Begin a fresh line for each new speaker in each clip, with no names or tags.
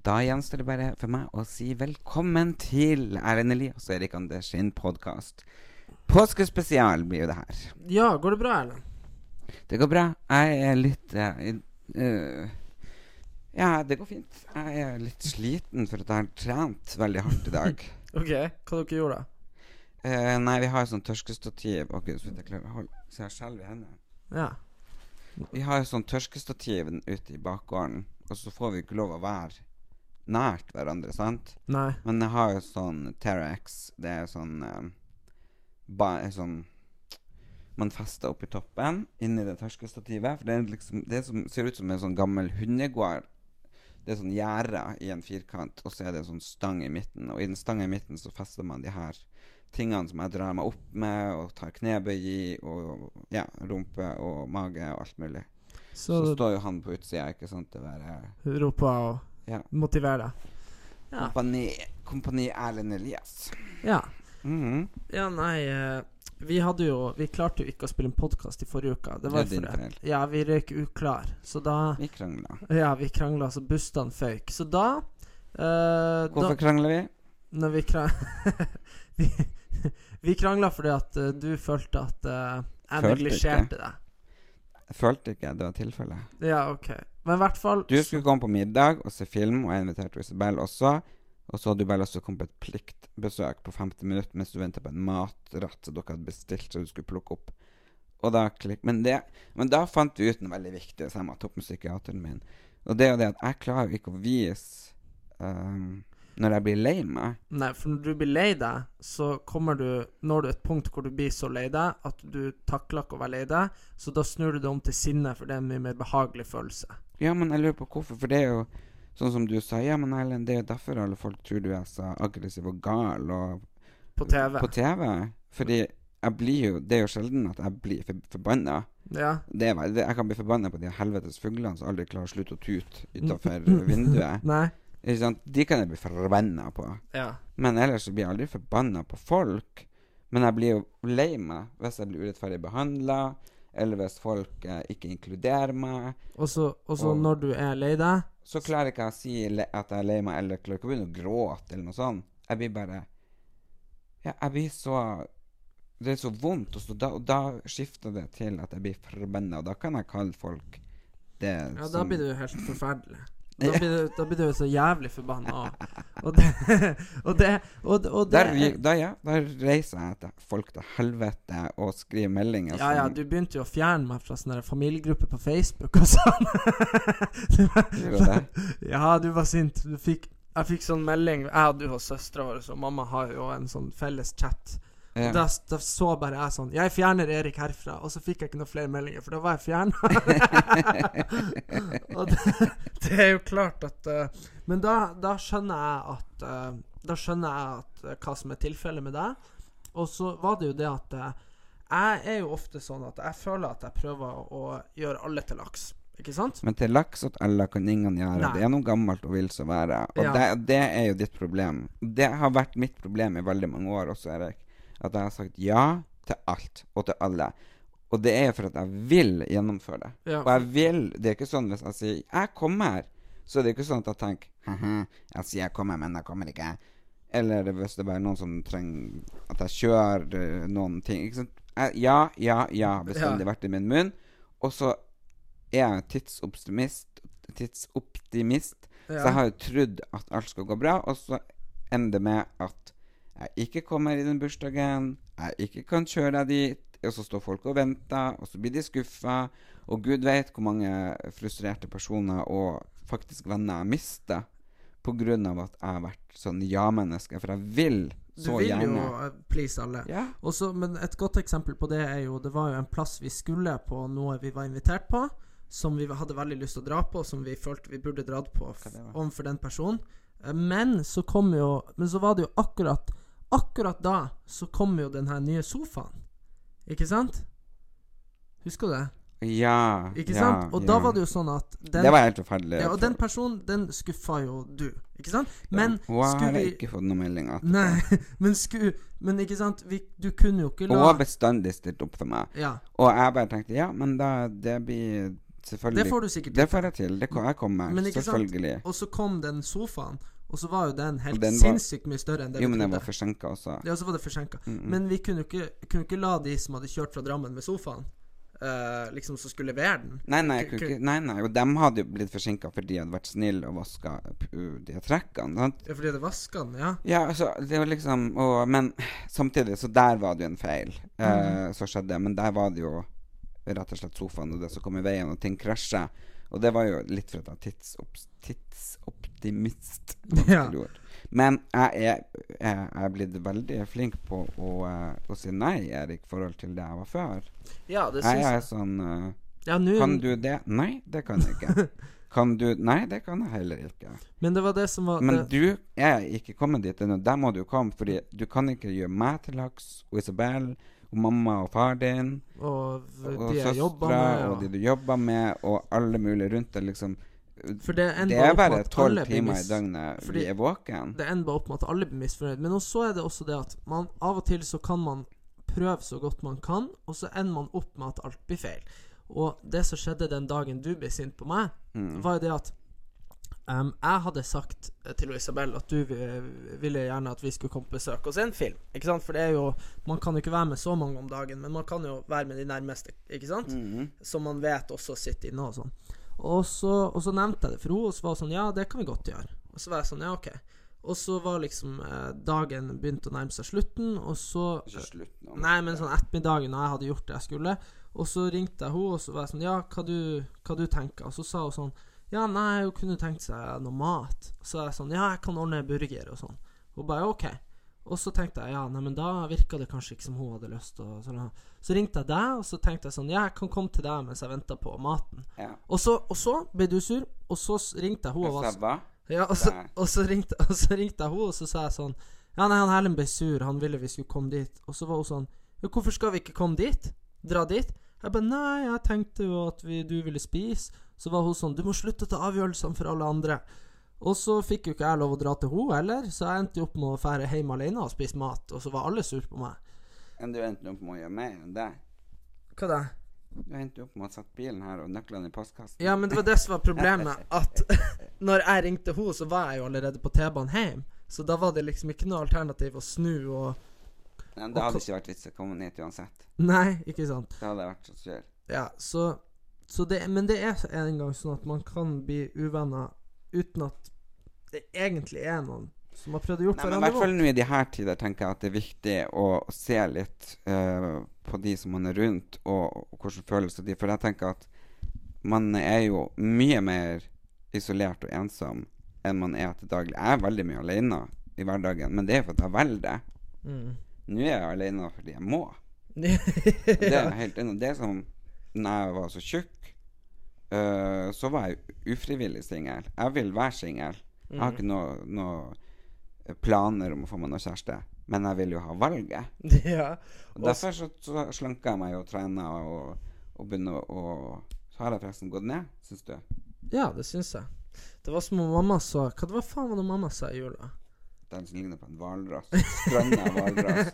Da gjenstår det bare for meg å si velkommen til Erlend Elias og Erik Anders sin podkast. Påskespesial blir jo det her.
Ja, går det bra, Erlend?
Det går bra. Jeg er litt eh, eh, Ja, det går fint. Jeg er litt sliten for at jeg har trent veldig hardt i dag.
Ok, hva dere gjorde da?
Eh, nei, vi har jo sånn tørkestativ Å, gud, så vidt jeg klarer å holde Så jeg skjelver i hendene.
Ja.
Vi har jo sånn tørkestativ ute i bakgården, og så får vi ikke lov å være nært hverandre, sant?
Nei.
Men jeg har jo sånn Terrax. Det er sånn eh, ba, Sånn Man fester oppi toppen, inni det tørkestativet. For det er liksom Det som ser ut som en sånn gammel hundegård. Det er sånn gjerde i en firkant, og så er det en sånn stang i midten. Og i den stanga i midten så fester man de her tingene som jeg drar meg opp med, og tar knebøy i, og ja, rumpe og mage og alt mulig. Så
Så
står jo han på utsida, ikke sant. Det der, eh,
ropa og
Ja.
motivere deg. Ja.
Kompani, kompani Erlend Elias.
Ja.
Mhm.
Ja, nei eh, Vi hadde jo Vi klarte jo ikke å spille en podkast i forrige uke. Det var
Det er
jo
din
fordi- Ja, vi røyk uklar. Så da
Vi krangla.
Ja, vi krangla så bustene føyk. Så da eh, da,
Hvorfor krangler vi?
Når vi krang... vi, vi krangla fordi at eh, du følte at eh, jeg
Følte
neglisjerte deg.
Jeg følte ikke at det var tilfellet.
Ja, OK. Men i hvert fall
Du skulle komme på middag og se film, og jeg inviterte Isabel også. Og så hadde du bare lyst til å komme på et pliktbesøk på 50 minutter mens du venta på en matrett som dere hadde bestilt, så du skulle plukke opp. Og da klikk, men, det, men da fant vi ut noe veldig viktig, som jeg tok med psykiateren min. Og det er jo det at jeg klarer jo ikke å vise ehm, når jeg blir lei meg.
Nei, for når du blir lei deg, så kommer du Når du et punkt hvor du blir så lei deg at du takler ikke å være lei deg, så da snur du det om til sinne, for det er en mye mer behagelig følelse.
Ja, men jeg lurer på hvorfor, for det er jo sånn som du sa. Ja, men Erlend, det er jo derfor alle folk tror du er så aggressiv og gal og
På TV.
På TV. Fordi jeg blir jo Det er jo sjelden at jeg blir for, forbanna.
Ja.
Det er, vel- det, jeg kan bli forbanna på de helvetes fuglene som aldri klarer å slutte å tute utafor vinduet.
Nei.
Ikke sant? De kan jeg bli forbanna på.
Ja.
Men ellers så blir jeg aldri forbanna på folk. Men jeg blir jo lei meg hvis jeg blir urettferdig behandla, eller hvis folk eh, ikke inkluderer meg.
Og så og så
Og-
når du er lei deg
Så klarer ikke jeg å si le at jeg er lei meg, eller klarer ikke å begynne å gråte eller noe sånt. Jeg blir bare Ja, jeg blir så Det er så vondt, og, så da, og da skifter det til at jeg blir forbanna, og da kan jeg kalle folk det
Ja, da
som
blir du helt forferdelig. Da blir du, da blir du så jævlig forbanna. Og- Og det Og det, og, det- og det
der, gikk- da, ja, da reiser jeg til folk til helvete og skriver meldinger
Ja, ja,
som-
du begynte jo å fjerne meg fra sånne der familiegrupper på Facebook altså. og sånn.
Gjør det?
Ja, du var sint. Du fikk, jeg fikk sånn melding Jeg og du og søstera vår og mamma har jo en sånn felles chat. Og
Ja.
da, da så bare jeg sånn 'Jeg fjerner Erik herfra.' Og så fikk jeg ikke noen flere meldinger, for da var jeg fjerna. og det, det er jo klart at eh, Men da, da skjønner jeg at eh, Da skjønner jeg at, eh, hva som er tilfellet med deg. Og så var det jo det at eh, jeg er jo ofte sånn at jeg føler at jeg prøver å gjøre alle til laks. Ikke sant?
Men til laks åt alle kan ingen gjøre.
Nei.
Det er noe gammelt og vil så være. Og
Ja.
det, det er jo ditt problem. Det har vært mitt problem i veldig mange år også, Erik. At jeg har sagt ja til alt og til alle. Og det er jo for at jeg vil gjennomføre det.
Ja.
Og jeg vil Det er ikke sånn hvis jeg sier 'jeg kommer', så er det ikke sånn at jeg tenker «Haha, 'jeg sier jeg kommer, men jeg kommer ikke'. Eller hvis det bare er noen som trenger at jeg kjører eh, noen ting. Ikke sant? Jeg, ja, ja, ja har bestandig vært i min munn. Og så er jeg tidsoptimist, tidsoptimist så jeg har jo trodd at alt skal gå bra, og så ender det med at jeg ikke kommer i den bursdagen, jeg ikke kan kjøre deg dit, og så står folk og venter, og så blir de skuffa, og gud vet hvor mange frustrerte personer og faktisk venner jeg mister pga. at jeg har vært sånn ja-menneske, for jeg vil
Du
så
vil
gjerne.
jo eh, please alle.
Ja.
Og så- men et godt eksempel på det er jo Det var jo en plass vi skulle på noe vi var invitert på. som vi hadde veldig lyst til å dra på, som vi følte vi burde dratt på f overfor den personen. Eh, Men så kom jo Men så var det jo akkurat Akkurat da så kom jo den her nye sofaen. Ikke sant? Husker du det?
Ja.
Ikke
ja,
sant? Og
ja.
da var det jo sånn at den,
Det var helt forferdelig.
ja, Og den personen, den skuffa jo du. Ikke sant? Men
Hun har
skulle vi
ikke fått noen melding. at-
Nei, men sku... Men ikke sant, vi, du kunne jo ikke
Hun har
la
bestandig stilt opp for meg.
Ja,
Og jeg bare tenkte ja, men da Det blir selvfølgelig
det får du sikkert
Det får jeg til. Det, jeg kommer.
Men ikke sant?
selvfølgelig.
Og så kom den sofaen, og så var jo den helt
Og den var-
sinnssykt mye større enn det
Jo,
vi
men jeg
trodde.
var Mm, forsinka også.
Ja, så var det forsinka. Men vi kunne jo ikke, kunne ikke la de som hadde kjørt fra Drammen med sofaen, eh, liksom som skulle levere den
Nei, nei, jeg
Ku-
kunne
ku-
ikke Nei, nei. Og dem hadde jo blitt forsinka fordi jeg hadde vært snill og vaska de trekkene. Sant?
Ja, fordi de hadde vaska den, ja.
Ja, altså, det var liksom og, Men samtidig, så der var det jo en feil
Mhm.
eh, som skjedde. Men der var det jo rett og slett sofaen og det som kom i veien, og ting krasja. Og det var jo litt for at jeg er tidsops, tidsoptimist.
Ja.
vanskelig ord. Men jeg er, jeg er blitt veldig flink på å, eh, å si nei, Erik, i forhold til det jeg var før.
Ja, det syns
Jeg
jeg.
er sånn eh,
Ja, nå-
Kan du det? Nei, det kan jeg ikke. Kan du Nei, det kan jeg heller ikke.
Men det var det som var
Men
det,
du er ikke kommet dit ennå. Der må du komme, fordi du kan ikke gjøre meg til laks og Isabel og mamma og far din
Og v-
og
de jeg jobba
søstera
med.
og de du jobber med og alle mulige rundt deg, liksom.
For det ender
Det er
bare opp med
bare
at
tolv
alle blir
timer i
mis-
døgnet
fordi-
vi er våken.
det ender bare opp med at alle blir misfornøyd. Men også er det også det at man av og til så kan man prøve så godt man kan, og så ender man opp med at alt blir feil. Og det som skjedde den dagen du ble sint på meg, var jo det at em, jeg hadde sagt eh, til Isabel at du vi- ville gjerne at vi skulle komme på besøk og se en film. Ikke sant? For det er jo Man kan jo ikke være med så mange om dagen, men man kan jo være med de nærmeste, ikke sant? Som man vet også sitter inne og sånn. Og så, og så nevnte jeg det for henne, og så var hun sånn Ja, det kan vi godt gjøre. Og så var jeg sånn, ja, ok. Og så var liksom eh, dagen begynt å nærme seg slutten, og så eh,
slutt nå.
Nei, men sånn ettermiddagen da jeg hadde gjort det jeg skulle, og så ringte jeg henne, og så var jeg sånn Ja, hva du, hva du tenker? Og så sa hun sånn Ja, nei, hun kunne tenkt seg noe mat. Og så var jeg sånn Ja, jeg kan ordne burger og sånn. Hun bare OK. Og så tenkte jeg ja, nei, men da virka det kanskje ikke som hun hadde lyst. Og sånn. Så ringte jeg deg, og så tenkte jeg sånn Ja, jeg kan komme til deg mens jeg venter på maten.
Ja.
Og, så, og så ble du sur, og så s- ringte jeg henne. og var
Så
sånn-
hva?
ja, og, så,
Nei.
og, så ringte, og så ringte jeg henne, og så sa jeg sånn Ja, nei, han Erlend ble sur, han ville vi skulle komme dit. Og så var hun sånn Ja, hvorfor skal vi ikke komme dit? Dra dit? Jeg bare Nei, jeg tenkte jo at vi, du ville spise. Så var hun sånn Du må slutte å ta avgjørelsene for alle andre. Og så fikk jo ikke jeg lov å dra til henne heller, så jeg endte jo opp med å fære hjem alene og spise mat, og så var alle sur på meg.
Men du endte opp med å gjøre mer enn det.
Hva da?
Du endte opp med å sette bilen her og nøklene i postkassen.
Ja, men det var det som var problemet, at når jeg ringte henne, så var jeg jo allerede på T-banen hjem. Så da var det liksom ikke noe alternativ å snu og
Men
og
det hadde
hva-
ikke vært vits å komme ned til uansett.
Nei, ikke sant.
Det hadde vært så kjør.
Ja, så, så det, Men det er en gang sånn at man kan bli uvenner uten at det egentlig er noen som har prøvd å gjøre
Nei, men i
hverandre
hvert fall
vondt.
nå i de her tider tenker jeg at det er viktig å se litt eh, på de som man er rundt, og, og hvilke følelser de For jeg tenker at man er jo mye mer isolert og ensom enn man er til daglig. Jeg er veldig mye alene i hverdagen, men det er jo for at jeg velger det. Nå er jeg alene fordi jeg må. Det er jeg helt enig i. Det er som når jeg var så tjukk, eh, så var jeg ufrivillig singel. Jeg vil være singel. Jeg har ikke noe, noe planer om å få meg noe kjæreste, men jeg vil jo ha valget.
ja.
Og derfor så, så slanker jeg meg og trener og, og begynner å Så har jeg forresten gått ned, syns du?
ja, det syns jeg. Det var som om mamma sa Hva det var faen var det mamma sa i jula?
Den som ligner på en hvalross. Stranda hvalross.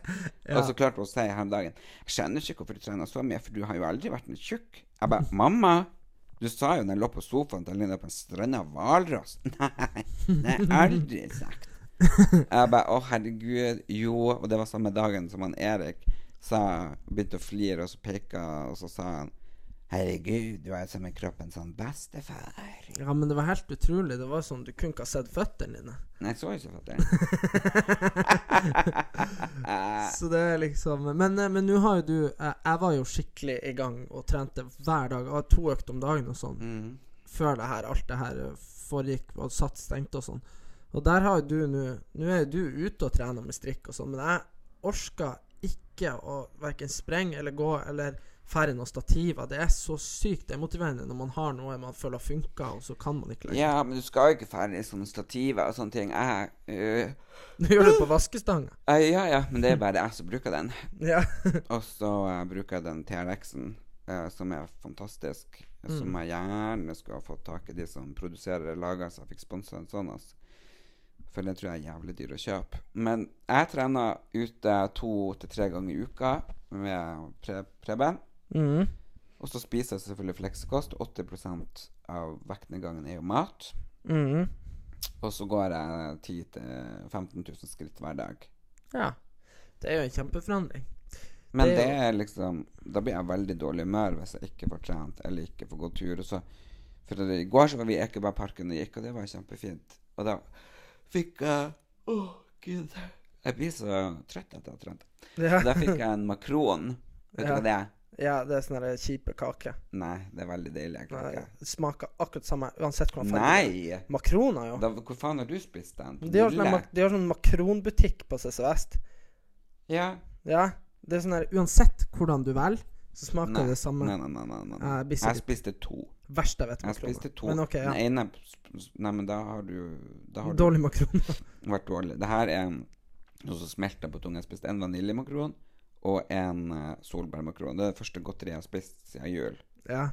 Og så klarte hun å si her om dagen Jeg skjønner ikke hvorfor du trener så mye, for du har jo aldri vært noe tjukk. Jeg bare Mamma! Du sa jo når jeg lå på sofaen at jeg lignet på en stranda hvalross. Nei, det har jeg aldri sagt. Jeg bare Å, herregud. Jo. Og det var samme dagen som han Erik sa Begynte å flire, og så peka, og så sa han Herregud, du er som en kroppen sånn bestefar.
Ja, men det var helt utrolig. Det var sånn Du kunne ikke ha sett føttene dine.
Nei, jeg så ikke fatter'n.
Så det er liksom Men eh, men nå har jo du eh, Jeg var jo skikkelig i gang og trente hver dag. Jeg hadde to økter om dagen og sånn. Før det her, alt det her eh, foregikk og satt stengt og sånn. Og der har jo du nå Nå er jo du ute og trener med strikk og sånn, men jeg orka ikke å verken sprenge eller gå eller færre noen stativer. Det er så sykt demotiverende når man har noe man føler funker, og så kan man ikke lenger.
Ja, men du skal jo ikke ferdig som stativer og sånne ting. Jeg, øh,
Nå gjør du det på vaskestanga.
jeg- ja, ja, men det er bare jeg som bruker den.
Ja.
Og så eh, bruker jeg den TRX-en, eh, som er fantastisk. Som jeg gjerne skulle ha fått tak i de som produserer og lager, så jeg fikk sponsa en sånn. Altså. For det tror jeg er jævlig dyr å kjøpe. Men jeg trener ute to til tre ganger i uka med pre Preben.
Mm.
Og så spiser jeg selvfølgelig fleksekost. 80 av vektnedgangen er jo mat.
Mm.
Og så går jeg 10 000-15 000 skritt hver dag.
ja. Det er jo en kjempeforandring.
Men
Det-
det er liksom Da blir jeg veldig dårlig i humør hvis jeg ikke får trent eller ikke får gå tur. Og så, for det, I går så var vi i Ekebergparken og gikk, og det var kjempefint. Og da fikk jeg Å, gud. Jeg blir så trøtt etter å ha trent.
Ja,
Og da fikk jeg en makron. Vet du
Ja.
hva det er?
ja det er sånne der kjipe kaker.
Nei, det er veldig deilig. Jeg
Nei,
klarer ikke.
det Smaker akkurat samme uansett hvordan
Nei!
Makroner, jo.
Da, hvor faen har du spist den?
De har, sånn
Nulle?
mak de har sånn makronbutikk på CC Vest.
Ja.
Ja. Det er sånn her Uansett hvordan du velger, så smaker
Nei.
det samme.
Nei, nei, nei, nei, nei.
Jeg blir
Jeg
sikkert-
spiste to.
Verst jeg vet
Jeg
makroner.
spiste to.
Men ok, ja.
Den ene sp- Nei, men da har du Da har du
Dårlig makroner.
vært dårlig. Det her er noe som smelter på tunga. Jeg spiste en vaniljemakron og en eh, solbærmakron. Det er det første godteriet jeg har spist siden jul.
ja.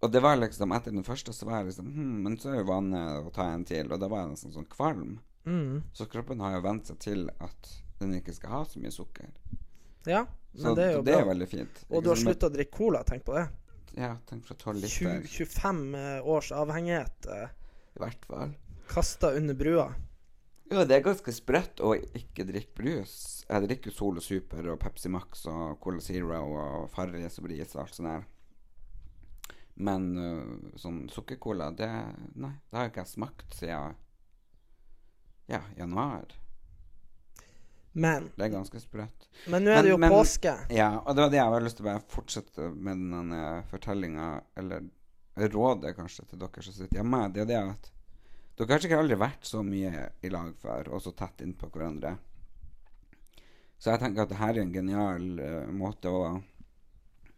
Og det var liksom etter den første, så var jeg liksom hm, Men så er jo vannet å ta en til, og da var jeg nesten sånn kvalm.
Mm.
Så kroppen har jo vent seg til at den ikke skal ha så mye sukker.
ja. Men
Så
det er jo
det er liksom
bra.
veldig fint.
Og du har
Ikke sant?
slutta å drikke cola, tenk på det.
Ja, tenk fra 12 liter.
20, 25 års avhengighet eh,
I hvert fall.
kasta under brua.
Ja, det er ganske sprøtt å ikke drikke brus. Jeg drikker jo Solo Super og Pepsi Max og Cola Zero og Farris og Bris og alt sånt der. Men øh, sånn sukkercola, det Nei, det har ikke jeg smakt siden ja, januar.
Men
Det er ganske sprøtt.
Men nå er det jo
Men- men-
påske.
Ja, og det var det jeg hadde lyst til å bare fortsette med den fortellinga, eller rådet kanskje til dere som sitter hjemme, det er det at dere har sikkert aldri vært så mye i lag før, og så tett innpå hverandre. Så jeg tenker at det her er en genial eh, måte å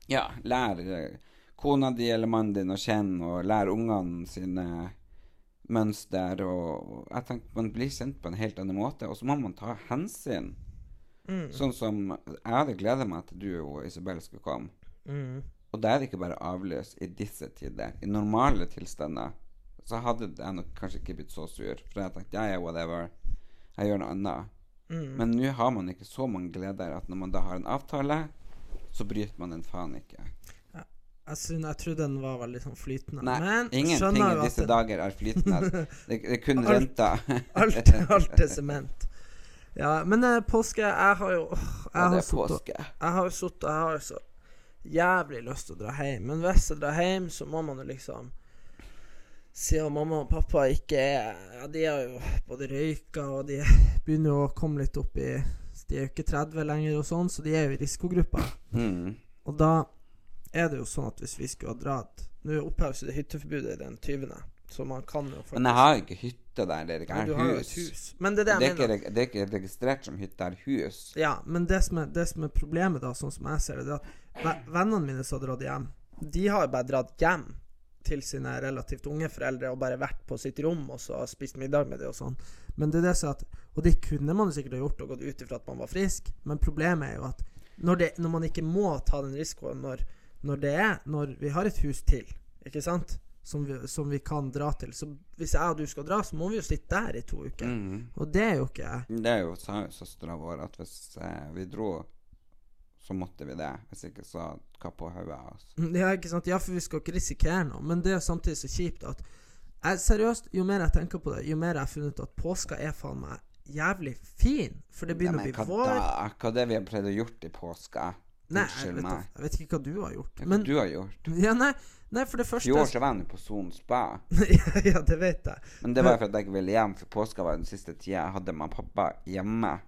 ja, lære eh, kona di eller mannen din å kjenne, og lære ungene sine mønster, og og jeg tenker man blir kjent på en helt annen måte, og så må man ta hensyn.
Mm.
Sånn som Jeg hadde gleda meg til du og Isabel skulle komme.
Mm.
Og da er det ikke bare avløs i disse tider. I normale tilstander så hadde jeg nok kanskje ikke blitt så sur. For jeg tenkte ja, ja, whatever. Jeg gjør noe annet.
Mm.
Men nå har man ikke så mange gleder at når man da har en avtale, så bryter man den faen ikke.
Jeg, synes, jeg tror den var veldig sånn flytende.
Nei,
Men
ingenting
skjønner
i
jo at
disse
det-
dager er flytende. Det, det er kun
Alt-
renta.
alt, alt er sement. Ja, men eh, påske Jeg har jo åh,
Ja, det
Jeg har
er
suttet-
påske.
jeg har jo sittet Jeg har jo så jævlig lyst til å dra hjem. Men hvis jeg drar hjem, så må man jo liksom Siden mamma og pappa ikke er ja, De har jo både røyka, og de begynner jo å komme litt opp i De er jo ikke 30 lenger, og sånn, så de er jo i risikogruppa.
Mm.
Og da er det jo sånn at hvis vi skulle ha dratt Nå oppheves jo det hytteforbudet den 20., så man kan jo faktisk
Men jeg har jo ikke hytte der, det er ikke
Nei, du
jeg
har
har
jo
hus.
et hus. Men det er
Det
det jeg
er, ikke,
mener.
reg- det er ikke registrert som hytte, det er hus.
Ja, men det som, er, det som er problemet, da, sånn som jeg ser det, det er at ve- vennene mine som har dratt hjem, de har jo bare dratt hjem til sine relativt unge foreldre og bare vært på sitt rom og så spist middag med det og sånn. Men det er det som er at Og det kunne man jo sikkert ha gjort og gått ut ifra at man var frisk, men problemet er jo at når, det, når man ikke må ta den risikoen når, når det er Når vi har et hus til, ikke sant, som vi, som vi kan dra til Så hvis jeg og du skal dra, så må vi jo sitte der i to uker. Og det er jo ikke
Det er jo sa jo søstera vår at hvis eh, vi dro, så måtte vi det. Hvis ikke så kappa hodet av oss.
Ja, ikke sant? ja, for vi skal ikke risikere noe. Men det er jo samtidig så kjipt at jeg, Seriøst, jo mer jeg tenker på det, jo mer jeg har funnet ut at påska er faen meg jævlig fin. For det
Ja,
begynner
men
å
hva
bli vår.
da? Hva er det vi har prøvd å gjort i påska?
Nei, jeg
Unnskyld
vet,
meg.
da- jeg vet ikke hva du har gjort.
Hva
Men
du har gjort?
ja, nei, nei, for
I
det
år
første
så var jeg nå på Son spa,
Ja, det vet jeg.
men det var fordi jeg ikke ville hjem, for påska var den siste tida jeg hadde med pappa hjemme.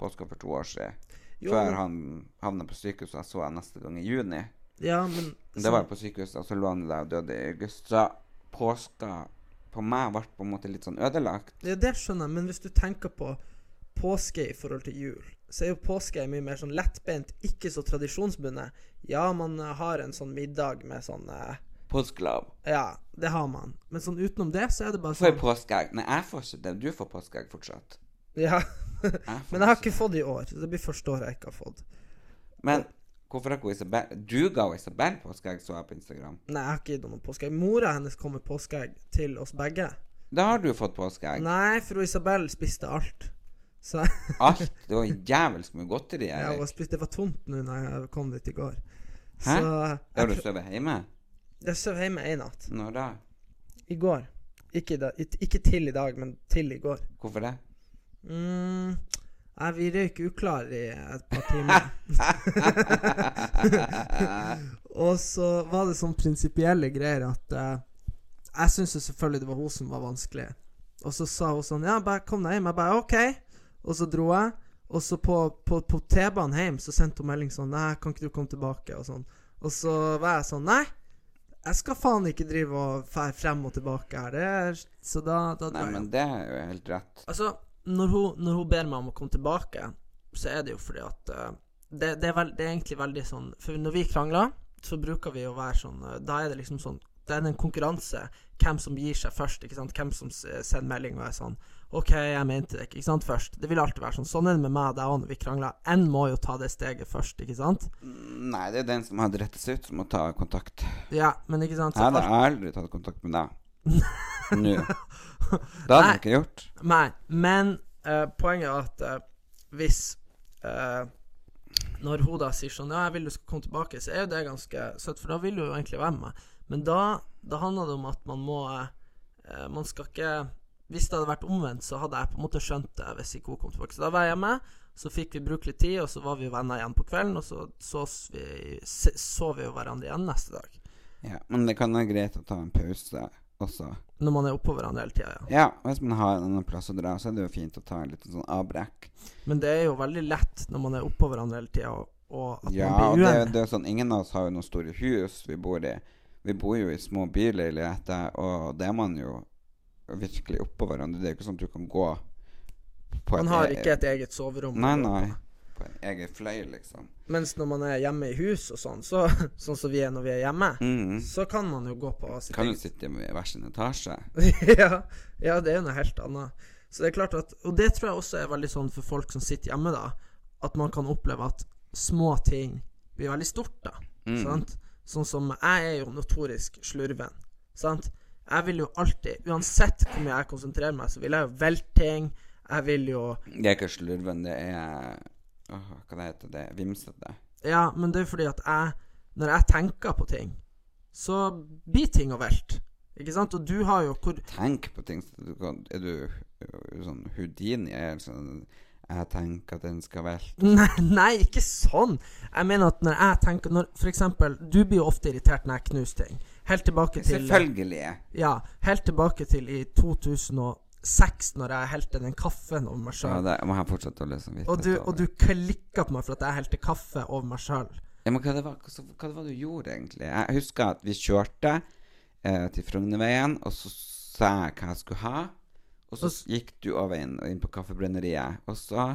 Påska for to år siden.
Jo, men-
Før han havna på sykehuset, jeg så han neste gang i juni.
Ja, men
Det var jo på sykehuset, og så lå han der og døde i august. Så påska på meg ble på en måte litt sånn ødelagt.
Ja, det skjønner jeg, men hvis du tenker på påske i forhold til jul, så er jo påske mye mer sånn lettbent, ikke så tradisjonsbundet. Ja, man eh, har en sånn middag med sånn eh,
Påskelov.
Ja, det har man. Men sånn utenom det, så er det bare
Får jeg
sånn
påskeegg? Nei, jeg får ikke det. Du får påskeegg fortsatt.
Ja.
Jeg får
Men jeg har ikke fått det i år. så Det blir første året jeg ikke har fått.
Men hvorfor har ikke Isabel Du ga jo Isabel påskeegg, så jeg på Instagram.
Nei, jeg har ikke gitt henne noen påskeegg. Mora hennes kom med påskeegg til oss begge.
Da har du fått påskeegg.
Nei, fru Isabel spiste alt. Så
Alt. Det var jævelsk mye godteri.
jeg var
Erik.
spist, Det var tomt nå når jeg kom dit i går.
Hæ?
Så
Har du
jeg,
sovet hjemme?
pr- jeg sov hjemme ei natt.
Når da?
I går. Ikke, i dag- it- ikke til i dag, men til i går.
Hvorfor det?
Mm, nei, vi røyk uklar i et par timer. og så var det sånn prinsipielle greier at eh, Jeg syntes jo selvfølgelig det var hun som var vanskelig. Og så sa hun sånn Ja, bare kom deg hjem. Jeg bare OK. Og så dro jeg. Og så på, på, på T-banen hjem så sendte hun melding sånn Nei, kan ikke du komme tilbake? Og sånn. Og så var jeg sånn Nei, jeg skal faen ikke drive og fære frem og tilbake her. Det er, så da, da drar
Nei,
jeg.
men det er jo helt rett.
Altså, når hun, når hun ber meg om å komme tilbake, så er det jo fordi at eh, det, det, er vel, det er egentlig veldig sånn For når vi krangler, så bruker vi å være sånn eh, Da er det liksom sånn Da er det en konkurranse. Hvem som gir seg først, ikke sant? Hvem som s- sender melding og er sånn OK, jeg mente det ikke, ikke sant, først. Det vil alltid være sånn. Sånn er det med meg og deg òg når vi krangler. En må jo ta det steget først, ikke sant?
Nei, det er den som har dritt seg ut, som må ta kontakt.
Ja, men ikke sant?
Jeg hadde aldri tatt kontakt med deg. Nå. Det hadde
Nei.
jeg ikke gjort.
Nei, men eh, poenget er at eh, hvis eh, Når hun da sier sånn Ja, jeg vil du skal komme tilbake, så er jo det ganske søtt, for da vil hun jo egentlig være med meg. Men da, da handler det om at man må eh, eh, Man skal ikke Hvis det hadde vært omvendt, så hadde jeg på en måte skjønt det hvis ikke hun kom tilbake. Så da var jeg hjemme, så fikk vi bruke litt tid, og så var vi venner igjen på kvelden, og så sås vi, se- så vi jo hverandre igjen neste dag.
Ja, men det kan være greit å ta en pause også.
Når man er oppå hverandre hele tida, ja.
Ja, hvis man har en annen plass å dra, så er det jo fint å ta en liten sånn avbrekk.
Men det er jo veldig lett når man er oppå hverandre hele tida, og, og Sånn at
Ja, og
man
det,
blir
er-
uenig.
det er jo sånn, ingen av oss har jo noen store hus vi bor i. Vi bor jo i små byleiligheter, og det er man jo virkelig oppå hverandre. Det er jo ikke sånn at du kan gå på e-
Man har ikke et eget soverom.
Nei, nei. På en egen fløy, liksom.
Mens når man er hjemme i hus og sånn, så, sånn som vi er når vi er hjemme,
Mhm.
så kan man jo gå på sitt
Kan jo
eget
sitte i hver sin etasje.
ja, ja, det er jo noe helt annet. Så det er klart at Og det tror jeg også er veldig sånn for folk som sitter hjemme, da, at man kan oppleve at små ting blir veldig stort, da.
Mm.
Sant? Sånn som Jeg er jo notorisk slurven, sant? Jeg vil jo alltid, uansett hvor mye jeg konsentrerer meg, så vil jeg jo velte ting. Jeg vil jo
Det er ikke slurven, det er Åh, Hva det heter det? Vimsete.
Ja, men det er fordi at jeg Når jeg tenker på ting, så blir ting å velte. Ikke sant? Og du har jo hvor
Tenk på ting som du kan Er du øh, sånn Houdini? Er sånn Jeg tenker at den skal velte.
Nei, nei, ikke sånn! Jeg mener at når jeg tenker når, For eksempel, du blir jo ofte irritert når jeg knuser ting. Helt tilbake til
Selvfølgelig.
Ja, helt tilbake til i 2006, når jeg helte den kaffen over meg
Ja,
sjøl.
det må jeg fortsette å lese om
og, du- og du klikka på meg for at jeg helte kaffe over meg sjøl.
ja, Men hva det, var, hva, hva det var du gjorde, egentlig? Jeg husker at vi kjørte eh, til Frognerveien, og så sa jeg hva jeg skulle ha. Og så gikk du over inn, inn på Kaffebrenneriet, og så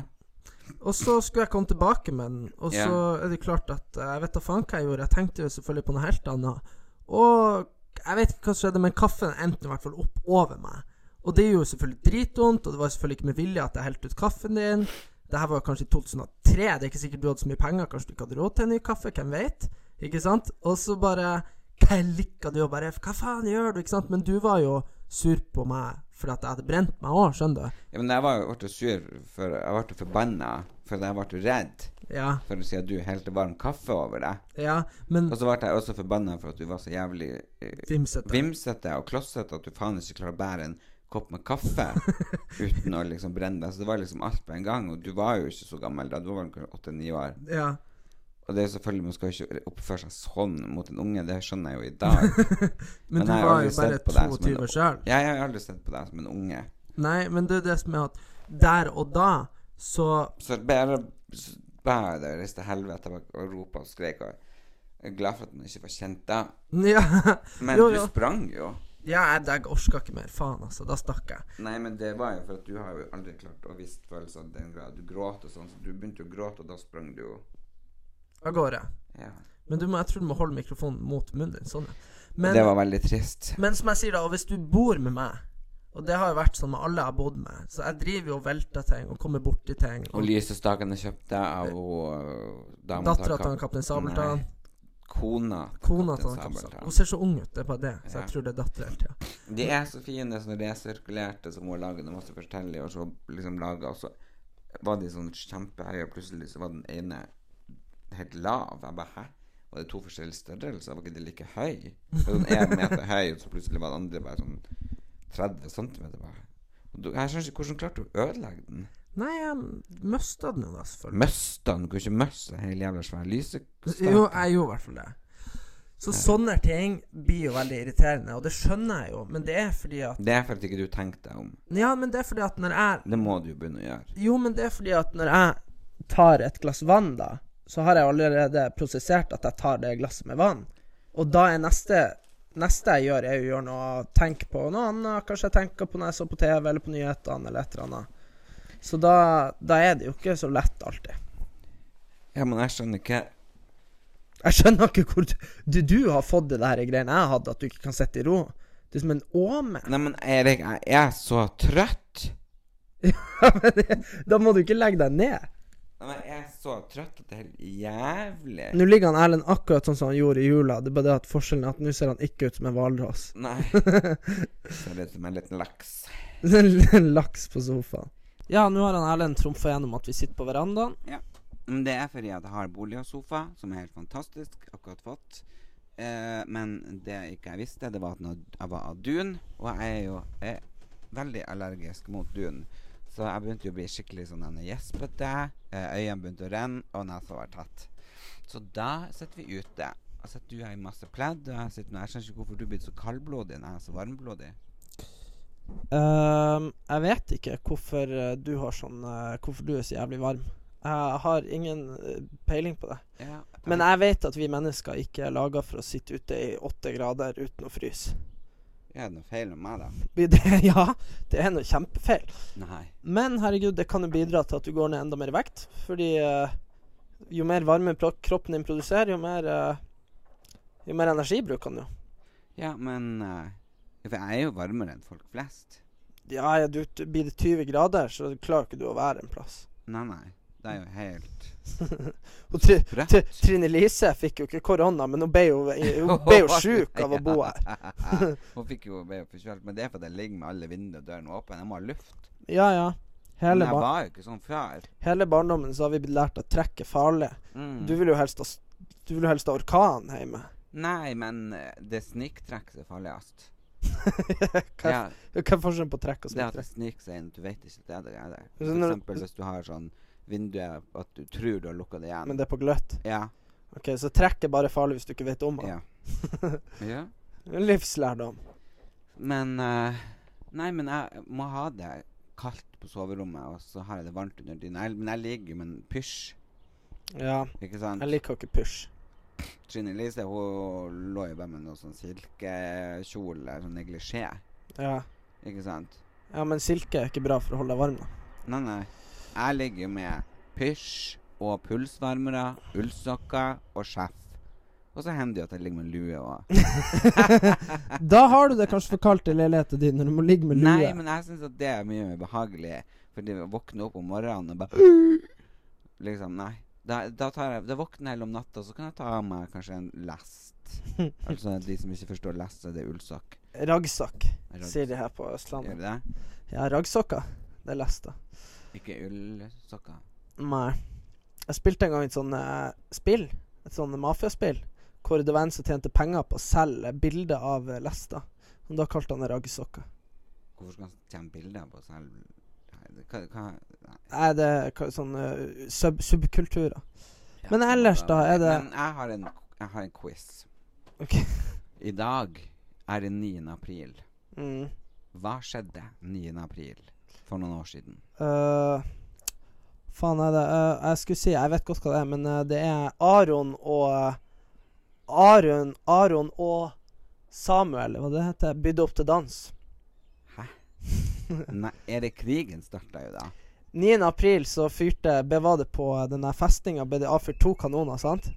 Og så skulle jeg komme tilbake med den, og så
Ja.
er det klart at eh, Jeg vet da faen hva jeg gjorde. Jeg tenkte jo selvfølgelig på noe helt annet. Og jeg vet ikke hva som skjedde, men kaffen endte i hvert fall opp over meg. Og det gjorde jo selvfølgelig dritvondt, og det var selvfølgelig ikke med vilje at jeg helte ut kaffen din. Det her var jo kanskje i 2003, det er ikke sikkert du hadde så mye penger, kanskje du ikke hadde råd til en ny kaffe, hvem vet? Ikke sant? Og så bare klikka du og bare Hva faen gjør du? Ikke sant? Men du var jo sur på meg fordi at jeg hadde brent meg òg, skjønner du?
Ja, men jeg var jo- ble jo sur, for jeg ble forbanna, for jeg ble jo redd.
Ja.
For å si at du helte varm kaffe over deg.
Ja. Men
Og så ble jeg også forbanna for at du var så jævlig eh,
vimsete.
vimsete og klossete at du faen ikke klarer å bære en kopp med kaffe uten å liksom brenne deg. Så det var liksom alt på en gang. Og du var jo ikke så gammel da. Du var vel kanskje åtte-ni år.
Ja.
Og det er jo selvfølgelig man skal jo ikke oppføre seg sånn mot en unge, det skjønner jeg jo i dag. jeg
Men, du
har
var
aldri
jo bare
sett på deg som en-
22 sjøl.
Ja, jeg har aldri sett på deg som en unge.
Nei, men det er det som er at der og da, så
Så bare så bare det reiste til helvete og og ropa og skrek. Og jeg er glad for at man ikke var kjent da.
Ja.
Men
jo,
du
jo.
sprang jo.
Ja, jeg deg orka ikke mer. Faen, altså. Da stakk jeg.
Nei, men det var jo for at du har jo aldri klart å vise følelser av sånn, den grad. Du gråt og sånn, så du begynte å gråte, og da sprang du jo
Av gårde.
Ja.
Men du må, jeg tror du må holde mikrofonen mot munnen din. Sånn. ja. Men,
det var veldig trist.
men som jeg sier, da, og hvis du bor med meg og det har jo vært sånn med alle jeg har bodd med. Så jeg driver jo og velter ting og kommer borti ting.
Og lysestakene kjøpte av eh,
Dattera til han kaptein Sabeltann.
Kona
Kona til han kaptein Sabeltann. Hun ser så ung ut, det er bare det. Så jeg tror det er datter hele tida.
De er så fine sånn resirkulerte som hun lager. De måtte fortelle og så liksom lage, og så var de sånn kjempehøye, og plutselig så var den ene helt lav. Jeg bare hæ? Var det to forskjellige størrelser? Var ikke det like høy? Det var Sånn én meter høy, og så plutselig var den andre bare sånn 30 centimeter. Bare. Og du, jeg skjønner ikke hvordan klarte du å ødelegge den?
Nei, jeg mista den jo da, selvfølgelig.
Møsta den? Du kunne ikke møste hele jævla svære lysestaken.
Jo, jeg gjorde i hvert fall det. Så sånne ting blir jo veldig irriterende, og det skjønner jeg jo, men det er fordi at
Det er for at ikke du tenkte deg om.
Ja, men det er fordi at når jeg
Det må du jo begynne å gjøre.
Jo, men det er fordi at når jeg tar et glass vann, da, så har jeg allerede prosessert at jeg tar det glasset med vann. Og da er neste Neste jeg gjør, er jo å gjøre noe Tenke på noe annet. Kanskje jeg tenker på når jeg så på TV eller på nyhetene eller et eller annet. Så da, da er det jo ikke så lett alltid.
Ja, men jeg skjønner ikke
Jeg skjønner ikke hvor du, du, du har fått det der greiene jeg hadde, at du ikke kan sitte i ro. Du er som en åme.
Nei, men Erik, jeg er så trøtt.
Ja, men det- da må du ikke legge deg ned.
Nei, men jeg er så trøtt at det er helt jævlig.
Nå ligger han Erlend akkurat sånn som han gjorde i jula, det er bare det at forskjellen er at nå ser han ikke ut som en hvalross.
Nei. Ser ut som en liten laks.
En laks på sofaen. Ja, nå har han Erlend trumfa gjennom at vi sitter på verandaen.
Men det er fordi at jeg har bolig og sofa, som er helt fantastisk, akkurat fått. Eh, men det jeg ikke visste, det var at når jeg var av dun, og jeg er jo eh, veldig allergisk mot dun, så jeg begynte jo å bli skikkelig sånn denne gjespete, eh, øynene begynte å renne, og nesa var tatt. Så da sitter vi ute. Og sitter du her i masse pledd, og jeg sitter nå Jeg skjønner ikke hvorfor du er blitt så kaldblodig når jeg er så varmblodig.
Ehm, jeg vet ikke hvorfor du har sånn Hvorfor du er så jævlig varm. Jeg har ingen eh, peiling på det.
Ja,
Men jeg vet at vi mennesker ikke er laga for å sitte ute i åtte grader uten å fryse.
Ja, det er noe feil med meg, da.
Vi- Det, ja, det er noe kjempefeil.
Nei.
Men herregud, det kan jo bidra til at du går ned enda mer i vekt. Fordi eh, jo mer varme pro- kroppen din produserer, jo mer, eh, jo mer energi bruker den jo.
Ja, men eh, For jeg er jo varmere enn folk flest.
Ja, ja, du, du- blir det 20 grader, så klarer ikke du å være en plass.
Nei, nei. Det er jo helt
Og tri,
Brett.
tri, Trine Lise fikk jo ikke korona, men hun ble jo, hun ble jo sjuk av å bo her.
her. Hun fikk jo ble jo forkjølt, men det er fordi jeg ligger med alle vinduene og dørene åpne. Jeg må ha luft.
Ja, ja.
Men
Hele,
jeg
bar
var jo ikke sånn før.
hele barndommen så har vi blitt lært at trekk er farlig.
Mm.
Du vil jo helst ha, s- du vil jo helst ha orkan hjemme.
Nei, men eh, det sniktrekket er farligst.
Hva
Ja,
Hva er forskjellen på trekk og
det at det
smittrekk?
sniker seg inn, du vet ikke at det er der.
Så
For
når-
eksempel hvis du har sånn vinduet at du tror du har lukka det igjen.
Men det er på gløtt.
Ja.
Ok, Så trekk er bare farlig hvis du ikke vet om det.
Ja. ja.
En Livslærdom.
Men eh, Nei, men jeg må ha det kaldt på soverommet, og så har jeg det varmt under dyna. Jeg- Men jeg ligger jo med en pysj,
Ja,
ikke sant?
jeg liker ikke push.
Trine Lise hun lå jo bare med noe sånn silkekjole, sånn neglisjé,
Ja.
ikke sant?
ja, men silke er ikke bra for å holde deg varm, da.
Nei, nei. Jeg ligger jo med pysj og pulsvarmere, ullsokker og sjef. Og så hender det jo at jeg ligger med lue og
Da har du det kanskje for kaldt i leiligheten din når du må ligge med lue.
Nei, men jeg syns at det er mye mer behagelig. Fordi å våkne opp om morgenen og bare Liksom, nei. Da, da, tar jeg, da våkner jeg om natta, så kan jeg ta av meg kanskje en lest. altså de som ikke forstår lest, så er det ullsokk.
Raggsokk,
Raggsokk.
sier de her på
Gjør
Østlandet.
det?
Ja, raggsokker. Det er lesta.
Ikke ullsokker.
Nei. Jeg spilte en gang et sånn eh, spill, et sånn mafiaspill, hvor det var en som tjente penger på å selge bilder av eh, lester. Og da kalte han det raggsokker.
Hvorfor skal han tjene bilder på seg Nei, det- hva, hva, nei.
Nei, det er ka- sånn eh, sub subkulturer. Men ellers da, er det-
Men jeg har en, jeg har en quiz.
Ok.
I dag er det 9. april.
Mm.
Hva skjedde 9. april for noen år siden?
Eh, faen er det eh, Jeg skulle si Jeg vet godt hva det er, men eh, det er Aron og Aron Aron og Samuel, hva det heter, bydde opp til dans.
Nei, er det krigen starta jo da?
9. april så fyrte Bevade på eh, denne festninga, ble det avfyrt to kanoner, sant?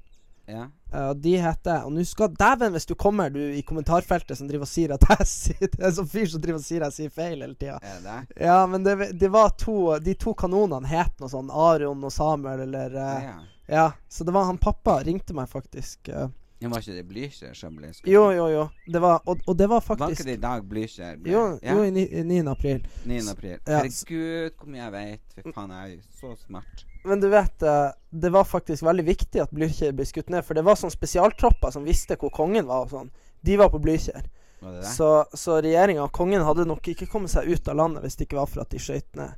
Ja.
Eh, Og de heter Og nå skal dæven hvis du kommer, du i kommentarfeltet som driver og sier at jeg sier Det er en sånn fyr som driver og sier jeg sier feil hele tida.
Er det det?
Ja, men det, det var to De to kanonene het noe sånn Aron og Samuel eller eh,
Ja.
ja. Så det var han pappa ringte meg faktisk. eh.
Ja, Var ikke det Blücher som ble skutt?
jo, jo, jo. Det var Og, og det var
Var ikke
faktisk
det i dag Blücher ble
Jo,
ja,
jo i ni- i 9. april.
9. april.
Ja.
Herregud, hvor mye jeg vet. Fy faen, jeg er jo så smart.
Men du vet, eh, det var faktisk veldig viktig at Blücher ble skutt ned. For det var sånne spesialtropper som visste hvor kongen var og sånn. De var på Blücher.
Var det det?
Så, så regjeringa og kongen hadde nok ikke kommet seg ut av landet hvis det ikke var for at de skøyt ned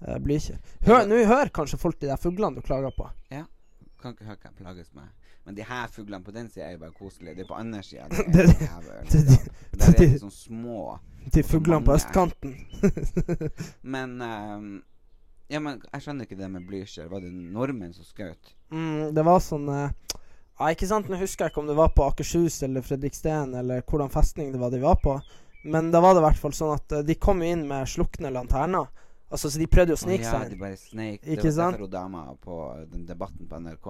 eh, Blücher. Hør, nå hører kanskje folk de der fuglene du klager på.
Kan ikke høre hva jeg plages med. Men de her fuglene på den sida er jo bare koselige. Det er på andre sida det
Det-
er jævlig.
det-
da. For Der er
det-
de sånn små.
De fuglene på
mange.
østkanten.
Men ehm, Ja, men jeg skjønner ikke det med Blücher. Var det nordmenn som skjøt?
Mm, det var sånn eh, Ja, ikke sant, nå husker jeg ikke om det var på Akershus eller Fredriksten eller hvordan festning det var de var på, men da var det i hvert fall sånn at eh, de kom jo inn med slukne lanterner. Altså, så de prøvde jo å
Å
snike
ja,
seg
de
inn.
bare sneik.
Ikke
det var
sant?
derfor hun dama på den debatten på NRK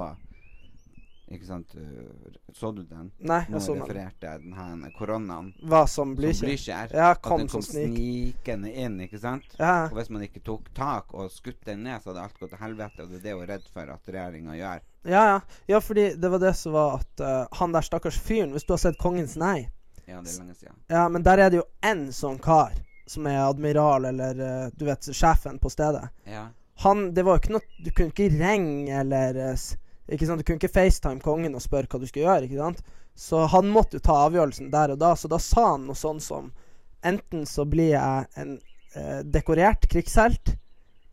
Ikke sant? uh, Så du den?
Nei,
Nå
altså,
refererte jeg den her koronaen
hva
som
som Blücher.
Blücher.
Ja,
at
kom
den kom
som snik.
snikende inn, ikke sant?
Ja,
Og hvis man ikke tok tak og skutt den ned, så hadde alt gått til helvete. Og det er det hun er redd for at regjeringa gjør.
Ja, ja. Ja, fordi det var det som var at eh, han der stakkars fyren Hvis du har sett Kongens nei
Ja, det er lenge siden.
Ja, men der er det jo én sånn kar som er admiral eller eh, du vet, sjefen på stedet.
Ja.
Han Det var jo ikke noe Du kunne ikke ringe eller eh, s- Ikke sant, Du kunne ikke FaceTime kongen og spørre hva du skulle gjøre, ikke sant? Så han måtte jo ta avgjørelsen der og da, så da sa han noe sånn som Enten så blir jeg en eh, dekorert krigshelt,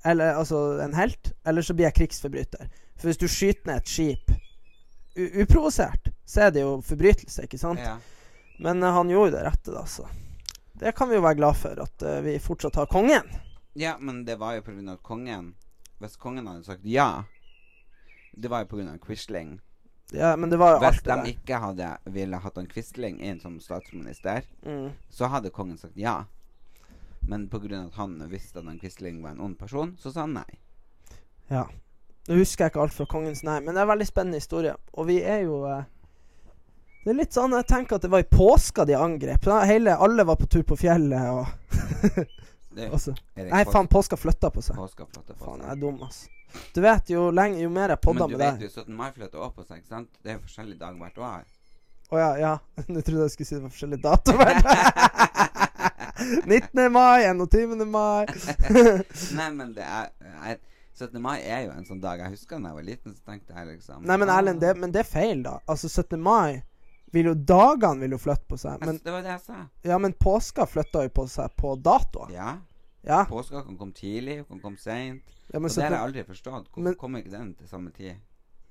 eller altså en helt, eller så blir jeg krigsforbryter. For hvis du skyter ned et skip u uprovosert, så er det jo forbrytelse, ikke sant?
ja.
Men eh, han gjorde det rette, da, så det kan vi jo være glad for, at eh, vi fortsatt har kongen.
Ja, men det var jo på grunn av kongen. Hvis kongen hadde sagt ja Det var jo på grunn av Quisling.
Ja, men det var jo
Hvis
alt det
de
der.
ikke hadde ville hatt han Quisling inn som statsminister,
Mm.
så hadde kongen sagt ja. Men på grunn av at han visste at han Quisling var en ond person, så sa han nei.
Nå husker jeg ikke alt fra Kongens nei, men det er en veldig spennende historie. Og vi er jo eh, Det er litt sånn Jeg tenker at det var i påska de angrep. Da hele, alle var på tur på fjellet og,
Det,
og så.
Erik
Altså, Nei,
Pås-
faen, påska flytta på seg.
Påska flytta på
Faen, jeg
seg.
er dum, ass. Du vet, jo lenge, jo mer jeg podder
Men du
med
vet
deg
jo 17. mai flytter også på seg, ikke sant? Det er jo forskjellig dag hvert år.
Å ja, ja. Nå trodde jeg skulle si det var forskjellige datoer. 19. mai, 21. mai.
Nei, men det er, er 17. mai er jo en sånn dag. Jeg husker da jeg var liten, så tenkte jeg liksom
Nei, men
ah.
Erlend, det, men det er feil, da. Altså, 17. mai vil jo Dagene vil jo flytte på seg.
Jeg-
Men,
Det var det jeg sa.
ja, men påska flytta jo på seg på datoer.
Ja.
Ja.
Påska kan komme tidlig, hun kan komme seint.
ja, men
Og det har
17.
jeg aldri forstått. Hvorfor
Men-
kommer ikke den til samme tid?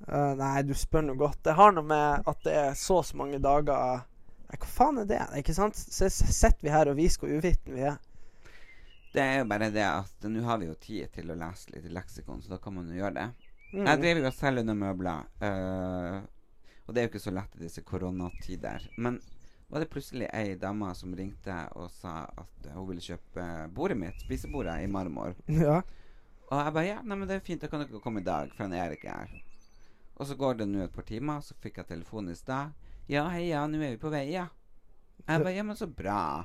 Eh, nei, du spør noe godt. Det har noe med at det er så og så mange dager Nei, hva faen er det? Ikke sant? Så sitter vi her og viser hvor uvitende vi er.
Det er jo bare det at nå har vi jo tid til å lese litt i leksikon, så da kan man jo gjøre det.
Mm.
Jeg driver jo og selger noen møbler, eh, og det er jo ikke så lett i disse koronatider. Men var det plutselig ei dame som ringte og sa at hun ville kjøpe bordet mitt, spisebordet, i marmor.
Ja.
Og jeg bare ja, nei, men det er fint, da kan dere komme i dag, for han Erik er her. Og så går det nå et par timer, så fikk jeg telefonen i stad. Ja, hei, ja, nå er vi på vei, ja. Jeg bare ja, men så bra.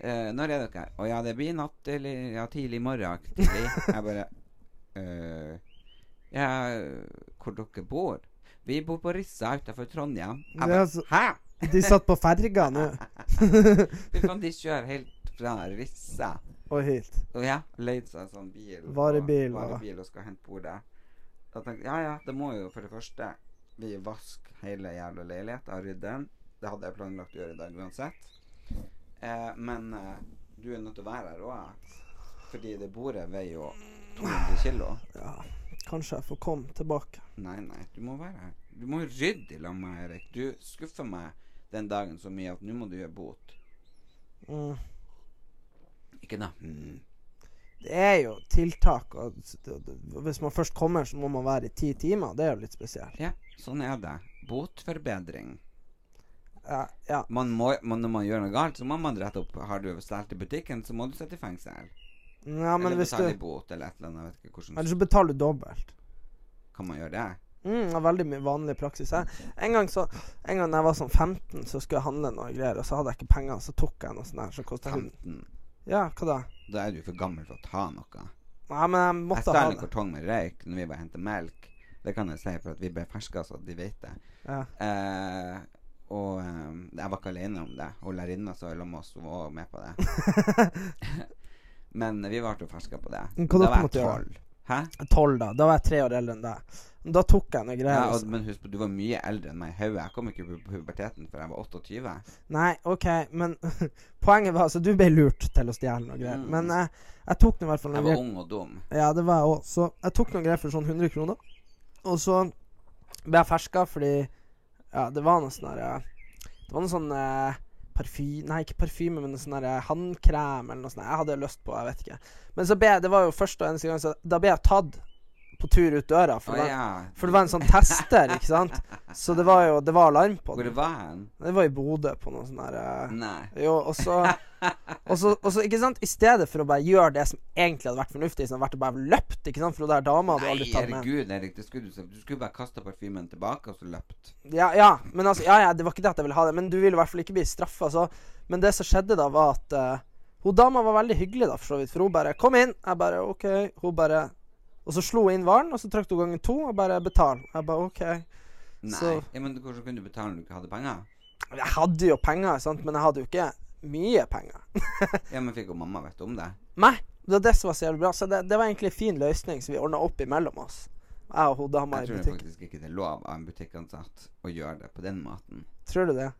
Eh, når er dere her? Å ja, det blir i natt eller ja, tidlig i morgen. Tidlig. Jeg bare eh, Ja, hvor dere bor? Vi bor på Rissa utafor Trondheim. Jeg
Ja,
bare,
så-
Hæ?!
De satt på ferga nå.
Fy faen, de kjører helt fra Rissa.
og hit.
Og ja, leid seg en sånn bil. og-
Varebil, og-
varebil og skal hente bordet. Da tenkte jeg ja ja, det må jo for det første vi vaske hele jævla leiligheta og rydde den. Det hadde jeg planlagt å gjøre i dag uansett. Eh, men eh, du er nødt til å være her òg, fordi det bordet veier jo 200 kilo.
Ja, kanskje jeg får komme tilbake.
Nei, nei, du må være her. Du må rydde i lag med meg, Erik. Du skuffer meg den dagen så mye at nå må du gjøre bot.
Mm.
Ikke da. Mm.
Det er jo tiltak, og s- det- det- hvis man først kommer, så må man være i ti timer. Det er jo litt spesielt.
Ja, sånn er det. Botforbedring.
Ja, ja.
Man må, man, når man gjør noe galt, så må man rette opp. Har du stjålet i butikken, så må du sitte i fengsel.
ja men
eller
hvis
betale i
du
bot, eller et eller annet. Jeg vet ikke hvordan
Eller så betaler du dobbelt.
kan man gjøre det.
Mm, det er veldig mye vanlig praksis her. En gang så En gang da jeg var sånn 15, så skulle jeg handle noe greier, og så hadde jeg ikke penger, så tok jeg noe sånt her som kostet 100
15.
Ja, hva da?
Da er du for gammel for å ta noe.
Nei, men jeg
Jeg
måtte ha
stjal en
det.
kartong med røyk når vi var og hentet melk. Det kan jeg si, for at vi ble ferska, så de vet det.
Ja.
Eh, og eh, jeg var ikke alene om det. Hun lærerinna som var sammen med oss, hun var også med på det. Men vi ble jo ferska på det.
Men hva
Da
dere
var jeg
måtte gjøre?
tolv. Hæ?
Tolv, da. Da var jeg tre år eldre enn deg. Da tok jeg noe greier. altså.
Ja,
og
og, men husk på, du var mye eldre enn meg i hodet. Jeg kom ikke på puberteten før jeg var 28.
Nei, OK, men poenget var altså Du ble lurt til å stjele noe greier.
Mm.
Men jeg, jeg tok nå i hvert fall noe
Jeg var
greier.
ung og dum.
Ja, det var jeg òg. Så jeg tok noen greier for sånn 100 kroner. Og så ble jeg ferska fordi Ja, det var noe sånn her eh, Det var noe sånn eh, parfy... Nei, ikke parfyme, men noe sånn her eh, håndkrem eller noe sånt. Jeg hadde lyst på, jeg vet ikke. Men så ble jeg Det var jo første og eneste gang, så da ble jeg tatt på tur ut døra.
Å
For, det,
ja.
for det var en sånn tester, ikke sant. Så det var jo Det var alarm på
Hvor
den.
var han?
Det var i Bodø på noe sånn her eh,
Nei.
jo, og så, og så, og så, ikke sant I stedet for å bare gjøre det som egentlig hadde vært fornuftig, som hadde vært å bare løpt ikke sant? For hun der dama hadde jo
Nei,
aldri tatt med.
herregud, Erik. Det skulle du, sagt. du skulle bare kasta parfymen tilbake og så løpt.
Ja, ja, men altså, ja, ja, det var ikke det at jeg ville ha det, men du ville i hvert fall ikke bli straffa. Så. Men det som skjedde da, var at eh, hun dama var veldig hyggelig, da, for så vidt. For hun bare 'Kom inn.' Jeg bare 'OK'. Hun bare Og så slo hun inn varen, og så trykte hun ganger to og bare 'Betal'. Jeg bare 'OK'.
Nei.
Så-
Ja, men hvordan kunne du betale når du ikke hadde penger?
Jeg hadde jo penger, sant, men jeg hadde jo ikke mye penger.
Ja, men fikk jo mamma vite om det?
Nei, det var det som var så jævlig bra. Så det, det var egentlig en fin løsning som vi ordna opp imellom oss. Jeg og hun dama
Jeg
i
tror
butikken.
faktisk ikke det er lov av en butikkansatt å gjøre det på den måten.
Tror du det?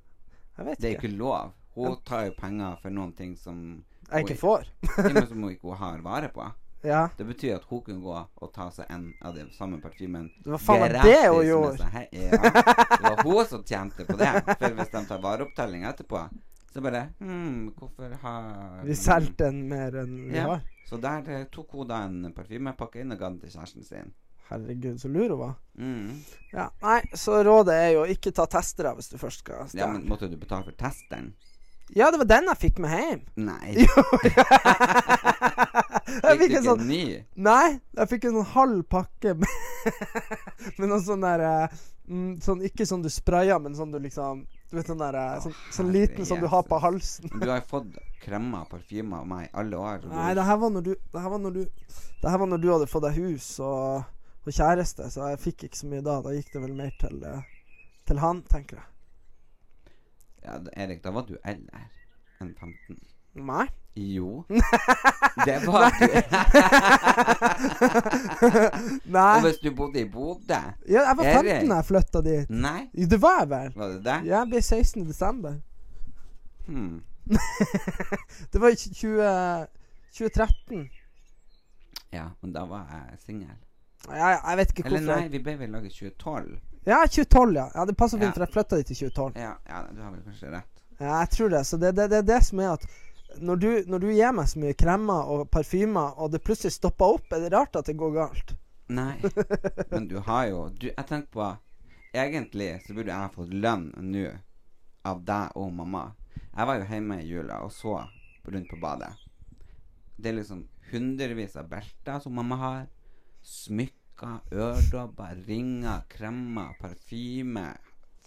Jeg vet
Det er
ikke.
ikke lov. Hun tar jo penger for noen ting som
Jeg ikke får.
Ja, men som hun ikke har vare på.
Ja.
Det betyr at hun kunne gå og ta seg en av den samme parfymen
Det var faen meg
gratis
det hun
med
gjorde.
seg he- Ja. Det var hun som tjente på det. For hvis de tar vareopptelling etterpå, så bare Hm, hvorfor har
Vi solgte den mer enn vi
Ja.
har.
Så der eh, tok hun da en parfymepakke inn og ga den til kjæresten sin.
Herregud, så lur hun var.
Mm.
Ja. Nei, så rådet er jo ikke ta testere hvis du først skal
Ja,
stjele.
men måtte du betale for testeren?
Ja, det var den jeg fikk med hjem.
Nei.
jeg
Fikk du
fikk
ikke
en sånn
en ny?
Nei, jeg fikk en sånn halv pakke med, med noe sånn der eh, mm, Sånn ikke sånn du sprayer, men sånn du liksom Du vet sånn der eh,
Å,
Sånn, sånn liten som du har på halsen.
Du har jo fått kremer og parfymer av meg i alle år. og du-
Nei, det her var når du Det her var når du, det her var når du hadde fått deg hus og, og kjæreste, så jeg fikk ikke så mye da. Da gikk det vel mer til, eh, til han, tenker jeg.
ja, da- Erik, da var du eldre enn 15.
Nei?
Jo. Det var du. Og
Nei.
hvis du bodde i Bodø
Ja, jeg var 15
Erik.
da jeg flytta dit.
Nei,
Jo, Det var jeg vel?
var det det?
Jeg ble 16. i desember.
Hmm.
Det var i 20, 2013.
Ja, men da var jeg singel.
Jeg, jeg vet ikke
Eller
hvorfor.
nei, vi ble vel laget i 2012.
Ja, 2012, ja. ja det passer
Ja.
fint, for jeg flytta dit i 2012.
Ja, ja, du har vel kanskje rett.
Ja, jeg tror det. Så det er det, det, er det som er at når du, når du gir meg så mye kremer og parfymer, og det plutselig stopper opp, er det rart at det går galt.
Nei, men du har jo du, Jeg tenker på Egentlig så burde jeg ha fått lønn nå av deg og mamma. Jeg var jo hjemme i jula og så rundt på badet. Det er liksom hundrevis av belter som mamma har. Smykker, øredobber, ringer, kremmer, parfyme.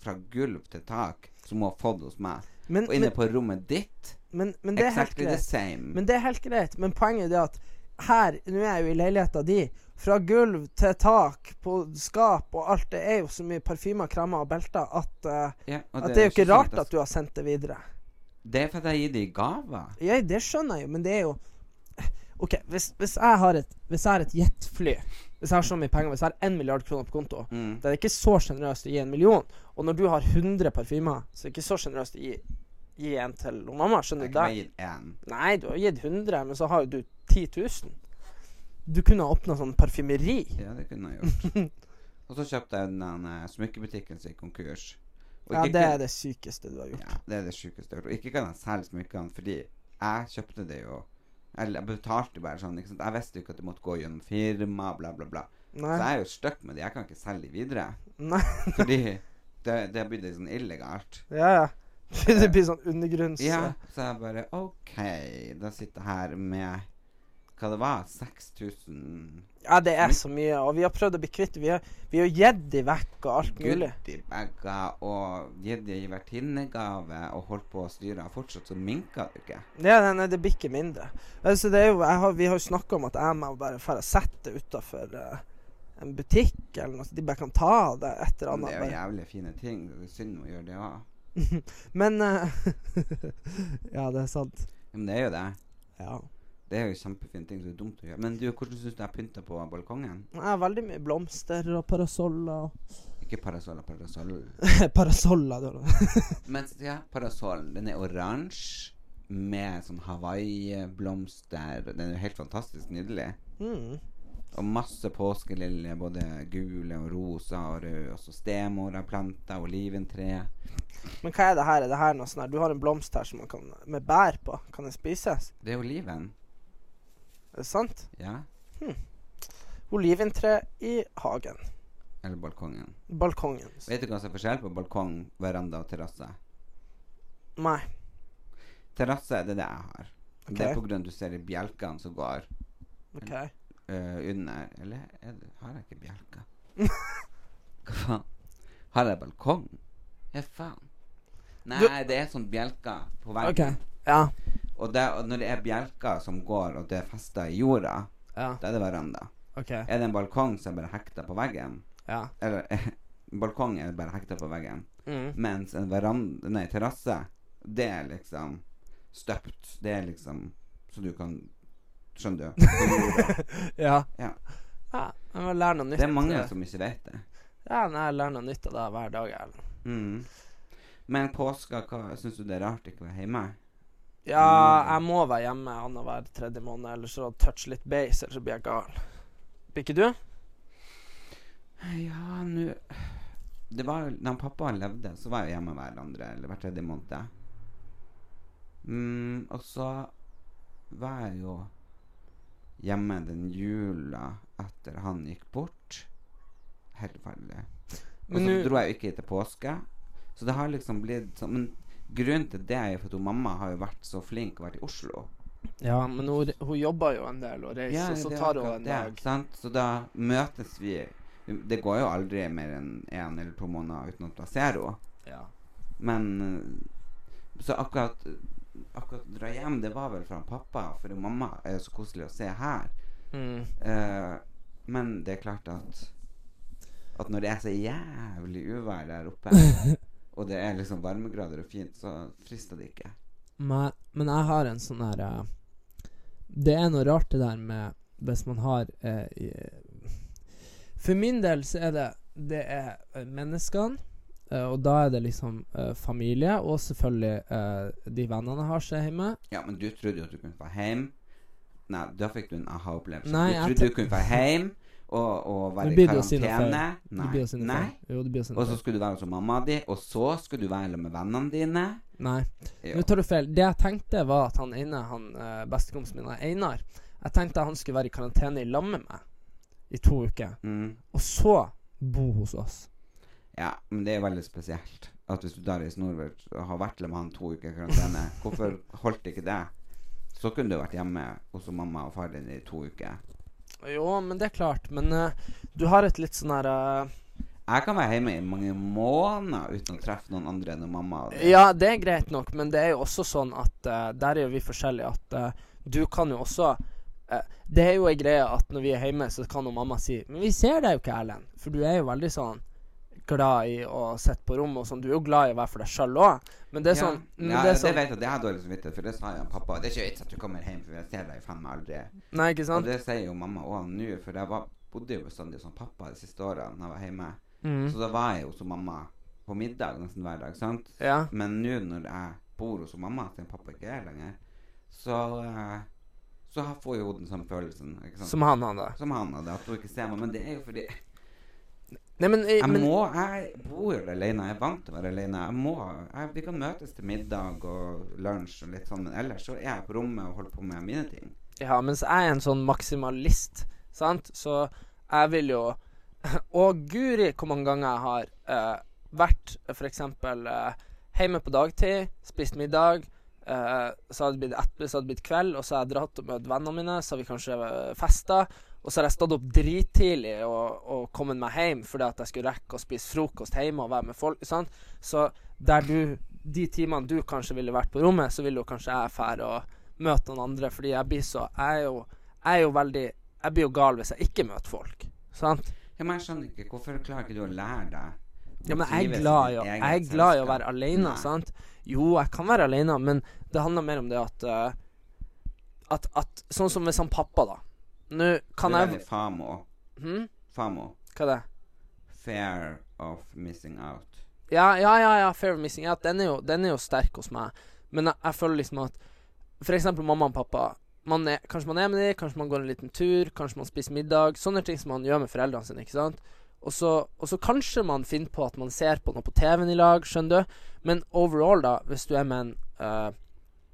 Fra gulv til tak, som hun har fått hos meg.
Men,
Og inne
men,
på rommet ditt
men, men det er helt
Exactly the
greit.
same.
Men det er helt greit. Men poenget er det at her, nå er jeg jo i leiligheta di, fra gulv til tak, på skap og alt, det er jo så mye parfymer, kremer og belter at, eh,
Ja, og
at det er jo ikke
sånn
rart at du har sendt det videre.
Det er fordi jeg gir dem gaver.
Ja, det skjønner jeg jo, men det er jo OK, hvis, hvis jeg har et Hvis jeg har et jetfly Hvis jeg har så mye penger, hvis jeg har én milliard kroner på konto
Mm.
Det er ikke så sjenerøst å gi en million. Og når du har 100 parfymer, så er det ikke så sjenerøst å gi, gi en til noen mamma.
Jeg
Skjønner du
kunne
det?
ha gitt én.
Nei, du har gitt 100, men så har jo du 10 000. Du kunne ha åpna sånn parfymeri.
Ja, det kunne jeg gjort. og så kjøpte jeg den eh, smykkebutikken som gikk konkurs. Og
Ja,
ikke
det er
kun-
det sykeste du har gjort.
Ja, det er det sjukeste jeg har gjort. Og ikke kan jeg selge smykkene, fordi jeg kjøpte det jo Eller jeg betalte bare sånn. Ikke sant? Jeg visste jo ikke at det måtte gå gjennom firma, bla, bla, bla. Så
Nei.
jeg er jo stuck med det. Jeg kan ikke selge de videre.
Nei.
Fordi det, det blir litt sånn illegalt.
Ja, ja. det blir sånn undergrunns...
Ja, så jeg bare OK, da sitter jeg her med Hva det var? 6000
Ja, det er så mye. Og vi har prøvd å bli kvitt Vi har, vi har gitt de vekk og alt mulig.
goodiebager og gitt dem i vertinnegave og holdt på å styre. Fortsatt så minka det ikke.
Ja, nei, nei, det blir ikke mindre. Altså, det er jo, jeg har, vi har jo snakka om at jeg må bare dra og sette det utafor eh, en butikk eller noe, så de bare kan ta det et eller
Men Det
annet.
er jo
Bare.
jævlig fine ting. Det er synd å gjøre det òg.
Men eh, Ja, det er sant.
Men det er jo det.
Ja.
Det er jo kjempefine ting som er dumt å gjøre. Men du, hvordan syns du jeg pynta på balkongen?
Jeg har veldig mye blomster og parasoller. og-
Ikke parasoll og parasoll.
parasoller, det var det.
Men ja, parasoll, den er oransje med sånn Hawaii-blomster. Den er jo helt fantastisk nydelig.
Mm.
Og masse påskeliljer, både gule og rosa og røde. Og så stemora, planter, oliventre.
Men hva er det her? Er det her noe sånn her? Du har en blomst her som man kan, med bær på. Kan den spises?
Det er oliven.
Er det sant?
Ja.
Oliventre i hagen.
Eller balkongen.
Balkongen.
Vet du hva som er forskjell på balkong, veranda og terrasse?
Nei.
Terrasse det er det jeg har. Det er
Ok.
på grunn av at du ser de bjelkene som går
OK.
eh, under Eller er det, har jeg ikke bjelker? Hva faen? Har jeg balkong? Ja, faen. Nei,
Du-
det er sånn bjelker på
OK.
veggen.
Ja.
Og, det, og når det er bjelker som går, og det er festa i jorda,
Ja.
da er det veranda.
OK.
Er det en balkong som er bare hekta på veggen?
Ja.
Eller balkong er bare hekta på veggen.
Mm.
Mens en veranda Nei, terrasse, det er liksom støpt. Det er liksom Så du kan Skjønner du? På jorda.
Ja.
Ja.
ja. Jeg må lære noe nytt.
Det er mange
altså.
som ikke vet det.
Ja, nei, jeg lærer noe nytt av det hver dag. Erlend.
Mm. Men påska, hva syns du det er rart ikke å være hjemme?
Ja, jeg må være hjemme annenhver tredje måned, ellers så touch litt base, ellers så blir jeg gal. Blir ikke du?
Ja, nå Det var jo Da pappa levde, så var jeg hjemme hver andre eller hver tredje måned. Mm, og så var jeg jo hjemme den jula etter han gikk bort. Helt forferdelig. Og
Men
så
nå-
dro jeg jo ikke til påske. Så det har liksom blitt sånn Men grunnen til det er jo for at hun mamma har jo vært så flink og vært i Oslo.
Ja, men hun, hun jobber jo en del og reiser, og så
det er
tar hun
akkurat
en
det,
dag.
Sant? Så da møtes vi Det går jo aldri mer enn én eller to måneder uten at jeg ser henne.
Ja.
Men eh, Så akkurat Akkurat dra hjem, det var vel fra pappa, for mamma er jo så koselig å se her.
Mm.
Eh, men det er klart at At når det er så jævlig uvær der oppe, og det er liksom varmegrader og fint, så frister det ikke.
Men, men jeg har en sånn her eh, Det er noe rart det der med hvis man har eh, i- For min del så er det Det er eh, menneskene, eh, og da er det liksom eh, familie, og selvfølgelig eh, de vennene jeg har seg hjemme.
Ja, men du trodde jo at du kunne få hjem. Nei, da fikk du en aha-opplevelse.
Nei,
Du
jeg
trodde du kunne få hjem og, og være
Det
i
blir det jo sine feil.
karantene.
Det blir jo sine
Nei.
feil. Jo, det blir jo sine
Og så
feil.
skulle du være hos mamma di, og så skulle du være sammen med vennene dine.
Nei.
Jo.
Nå tar du feil. Det jeg tenkte, var at han ene, han eh, bestekompisen min, han Einar Jeg tenkte han skulle være i karantene i lag med meg i to uker,
Mm.
og så bo hos oss.
Ja, men det er jo veldig spesielt. At hvis du da reiser nordover og har vært med han to uker i karantene, hvorfor holdt ikke det? Så kunne du vært hjemme hos mamma og far din i to uker.
Jo, men det er klart. Men eh, du har et litt sånn her eh,
Jeg kan være hjemme i mange måneder uten å treffe noen andre enn mamma. og de.
Ja, det er greit nok, men det er jo også sånn at eh, der er jo vi forskjellige. At eh, du kan jo også eh, Det er jo ei greie at når vi er hjemme, så kan jo mamma si Men vi ser deg jo ikke, Erlend. For du er jo veldig sånn glad i å sitte på rommet og sånn. Du er jo glad i å være for deg sjøl òg. Men det er sånn
ja,
men
ja,
det
det,
er sånn,
vet jeg at jeg har dårlig samvittighet, for det sa jo pappa. Det er ikke vits at du kommer hjem, for jeg ser deg faen meg aldri.
Nei, ikke
Og
sant?
det sier jo mamma òg nå, for jeg var, bodde jo bestandig som pappa de siste årene når jeg var hjemme.
Mm.
Så da var jeg jo hos mamma på middag nesten hver dag, sant.
Ja.
Men nå når jeg bor hos mamma, siden pappa ikke er lenger, så eh, Så har- får jo hun den samme følelsen, ikke sant. Som,
Som han, han da.
han hadde, at hun ikke ser meg. Men det er jo fordi
Nei, men, eh,
jeg
men
må Jeg bor jo alene. Jeg er vant til å være alene. Jeg må, jeg, vi kan møtes til middag og lunsj og litt sånn, men ellers så er jeg på rommet og holder på med mine ting.
Ja, mens jeg er en sånn maksimalist, sant? Så jeg vil jo Å, guri hvor mange ganger jeg har eh, vært f.eks. Uh, hjemme på dagtid, spist middag. eh, så hadde det blitt etterpå, så hadde det blitt kveld, og så hadde jeg dratt og møtt vennene mine. Så hadde vi kanskje eh, festa. Og så hadde jeg stått opp drittidlig og, og kommet meg hjem fordi at jeg skulle rekke å spise frokost hjemme og være med folk. Sant? Så der du De timene du kanskje ville vært på rommet, så ville jo kanskje jeg fære og møte noen andre, fordi jeg blir så Jeg er jo, jeg er jo veldig Jeg blir jo gal hvis jeg ikke møter folk. Sant?
Ja, men jeg skjønner ikke, Hvorfor klarer ikke du å lære deg
Ja,
å
men jeg
trives
er glad i,
ditt
å-
eget
jeg er glad i å
selskap?
være alene,
Nei.
sant? Jo, jeg kan være alene, men det handler mer om det at eh, at, at Sånn som hvis han pappa, da. Nå kan
du er
jeg
veldig famo.
hm?
Famo.
Hva er det?
Fair of missing out.
Ja, ja, ja, ja Fair of Missing Out. Den er jo, den er jo sterk hos meg. Men jeg, jeg føler liksom at For eksempel mamma og pappa. Man er, kanskje man er med dem, kanskje man går en liten tur, kanskje man spiser middag. Sånne ting som man gjør med foreldrene sine. ikke sant? Og så, og så kanskje man finner på at man ser på noe på TV-en i lag, skjønner du. Men overall, da, hvis du er med en eh,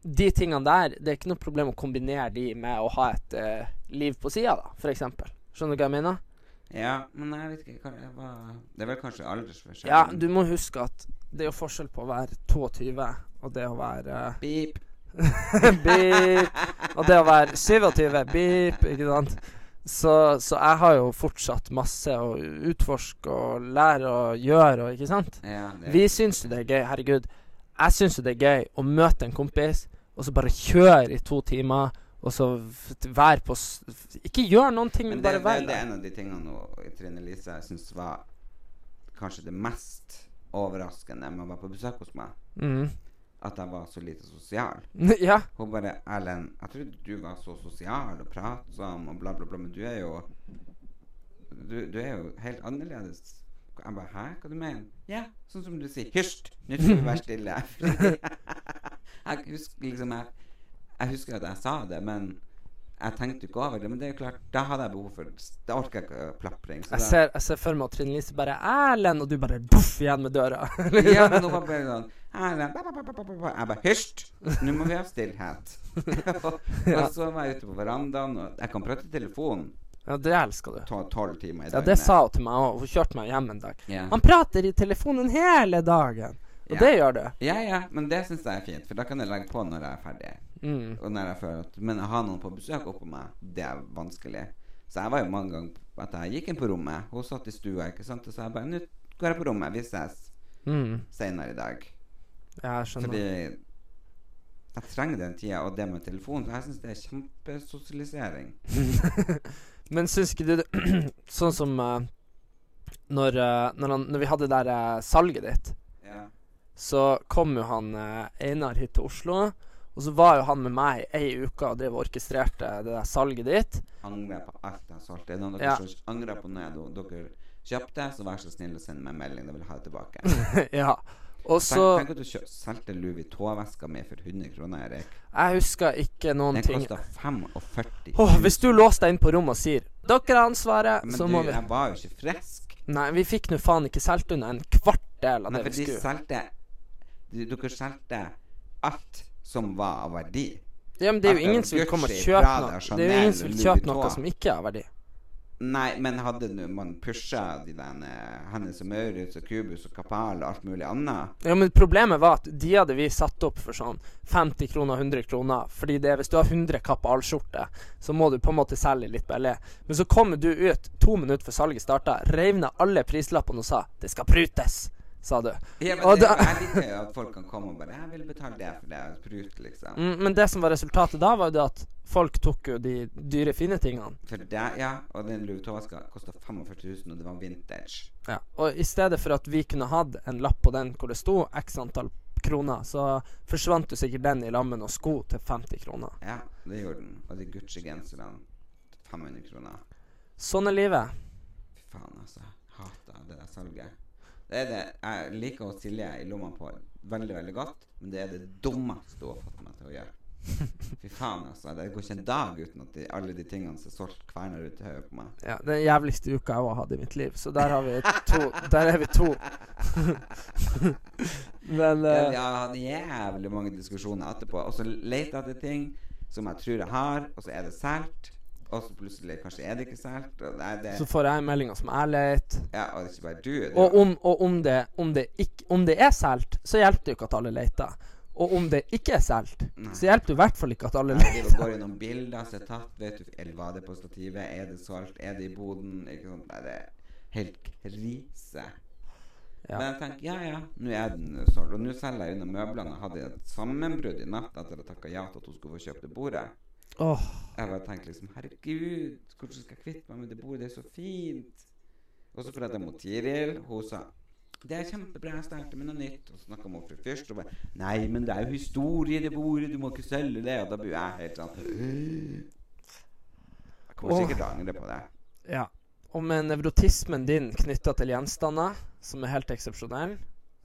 De tingene der, det er ikke noe problem å kombinere de med å ha et eh, liv på sida, da, for eksempel. Skjønner du hva jeg mener?
Ja, men jeg vet ikke hva det var Det er vel kanskje aldersforskjell.
Ja, du må huske at det er jo forskjell på å være 22 og det å være
Beep.
Beep. Og det å være 27 Beep, ikke sant. Så, så jeg har jo fortsatt masse å utforske og lære og gjøre, og ikke sant.
Ja, det,
Vi syns jo det er gøy. Herregud. Jeg syns jo det er gøy å møte en kompis, og så bare kjøre i to timer, og så f- være på s- Ikke gjøre noen ting,
men
men
det,
Mm, bare
det,
være
det er
der.
en av de tingene nå, Trine Lise jeg syns var kanskje det mest overraskende med å være på besøk hos meg.
Mm.
At jeg var så lite sosial.
Ja.
Hun bare 'Erlend, jeg trodde du var så sosial og pratsom og bla, bla, bla, men du er jo Du, du er jo helt annerledes. Jeg bare 'Hæ, hva du mener?' Ja, sånn som du sier. Hysj! Nå skal vi være stille. jeg husker liksom jeg, jeg husker at jeg sa det, men jeg tenkte jo ikke over det. Men det er jo klart, da hadde jeg behov for Da orker jeg ikke øh, plapring. så
Jeg
da-
ser, jeg ser for meg at Trine Lise bare 'Erlend', og du bare boff igjen med døra.
Ja, men hun var bare sånn Erlend ba, ba, ba, ba, ba, ba, ba. Jeg bare Hysj! Nå må vi ha stillhet. og, og så var jeg ute på verandaen, og jeg kan prate i telefonen
Ja, det elsker du.
to- tolv timer i
Ja,
døgnet.
det sa hun til meg òg. Hun kjørte meg hjem en dag.
Ja.
Han prater i telefonen hele dagen. Og
Ja.
det gjør du.
Ja, ja, men det syns jeg er fint, for da kan jeg legge på når jeg er ferdig.
Mm.
Og når jeg føler at Men å ha noen på besøk oppå meg, det er vanskelig. Så jeg var jo mange ganger at jeg gikk inn på rommet. Hun satt i stua, ikke sant, og så jeg bare Nå går jeg på rommet. Vi ses
Mm.
seinere i dag.
Ja, jeg skjønner.
Fordi jeg trenger den tida og det med telefonen. Så jeg syns det er kjempesosialisering.
Men syns ikke du det Sånn som eh, når, eh, når, han, når vi hadde det der eh, salget ditt,
Ja.
så kom jo han eh, Einar hit til Oslo. Og så var jo han med meg i ei uke og drev og orkestrerte det der salget ditt.
Angrer på alt jeg solgte. Er det Noen dere
Ja.
som angrer på noe dere kjøpte, så vær så snill å sende meg en melding. Da vil jeg ha det tilbake.
ja. Og
Tenk,
så
tenk at du kjø- solgte Louis Vuitton-veska mi for 100 kroner, Erik.
Jeg husker ikke noen
Den
ting.
kosta 45
Åh, hvis du låser deg inn på rommet og sier 'Dere har ansvaret',
Men
så
du,
må vi
jeg var jo ikke frisk.
Nei, vi fikk nå faen ikke solgt unna en kvart del av
Nei,
det
for de
vi skulle.
solgte de- Dere solgte alt som var av verdi.
Ja, men det er jo
Alt av
ingen som vil
Gucci,
komme og kjøpe
Prada,
noe. Det er
Chanel,
jo ingen som vil
Louis
kjøpe noe
Vuitton.
som ikke har verdi.
Nei, men hadde nu- man pusha de der eh, Hennes og Maurits og Kubus og Kapal og alt mulig annet
Ja, men problemet var at de hadde vi satt opp for sånn 50 kroner, 100 kroner. Fordi det er hvis du har 100 kapp allskjorte, så må du på en måte selge litt billig. Men så kommer du ut to minutter før salget starta, reiv ned alle prislappene og sa 'Det skal prutes', sa du.
ja, men
Og
det,
da-
Jeg liker jo at folk kan komme og bare 'Jeg vil betale det for det', og sprute, liksom.
Mm, Men det som var resultatet da, var jo det at folk tok jo de dyre, fine tingene.
For det, ja, Og den lutovaska kosta 45 000, og det var vintage.
Ja. Og i stedet for at vi kunne hatt en lapp på den hvor det sto x antall kroner, så forsvant jo sikkert den i lammen og sko til 50 kroner.
Ja, det gjorde den. Og de Gucci-genserne 500 kroner.
Sånn er livet.
Fy faen, altså. Hater det der salget. Det er det jeg liker å Silje i lomma på veldig, veldig godt, men det er det dummeste hun har fått meg til å gjøre. Fy faen, altså. Det går ikke en dag uten at de, alle de tingene som er solgt, kverner ut i hodet på meg.
Ja, den jævligste uka jeg har hatt i mitt liv, så der har vi to. Der er vi to. Men
Jeg
eh,
har jævlig mange diskusjoner etterpå, og så leter jeg etter ting som jeg tror jeg har, og så er det solgt. og så plutselig kanskje er det ikke solgt. og Nei, det
Så får jeg meldinga som jeg leter.
Ja, og det er ikke bare du. Det,
Og, om, og om, det, om, det ikk- om det er solgt, så hjelper det jo ikke at alle leter. Og om det ikke er solgt, så hjelper det i hvert fall ikke at alle
Jeg driver og
leter.
går gjennom bilder som er tatt. Vet du, eller var det på stativet? Er det solgt? Er det i boden? Ikke sant? Nei, det er helt krise.
Ja.
Men jeg tenker ja, ja, nå er den jo solgt. Og nå selger jeg unna møblene. Jeg hadde et sammenbrudd i natt etter å ha takka ja til at hun skulle få kjøpt det bordet.
Åh,
Jeg bare tenkte liksom Herregud, hvordan skal jeg kvitte meg med det bordet? Det er så fint. Og så prøvde jeg mot Tiril. Hun sa det er kjempebra, jeg starter med noe nytt. Og så snakka hun til først og bare Nei, men det er jo historie i det bordet, du må ikke selge det. Og da blir jeg helt sånn Jeg kommer
Åh.
sikkert til å angre på det.
ja. Og med nevrotismen din knytta til gjenstander, som er helt eksepsjonell,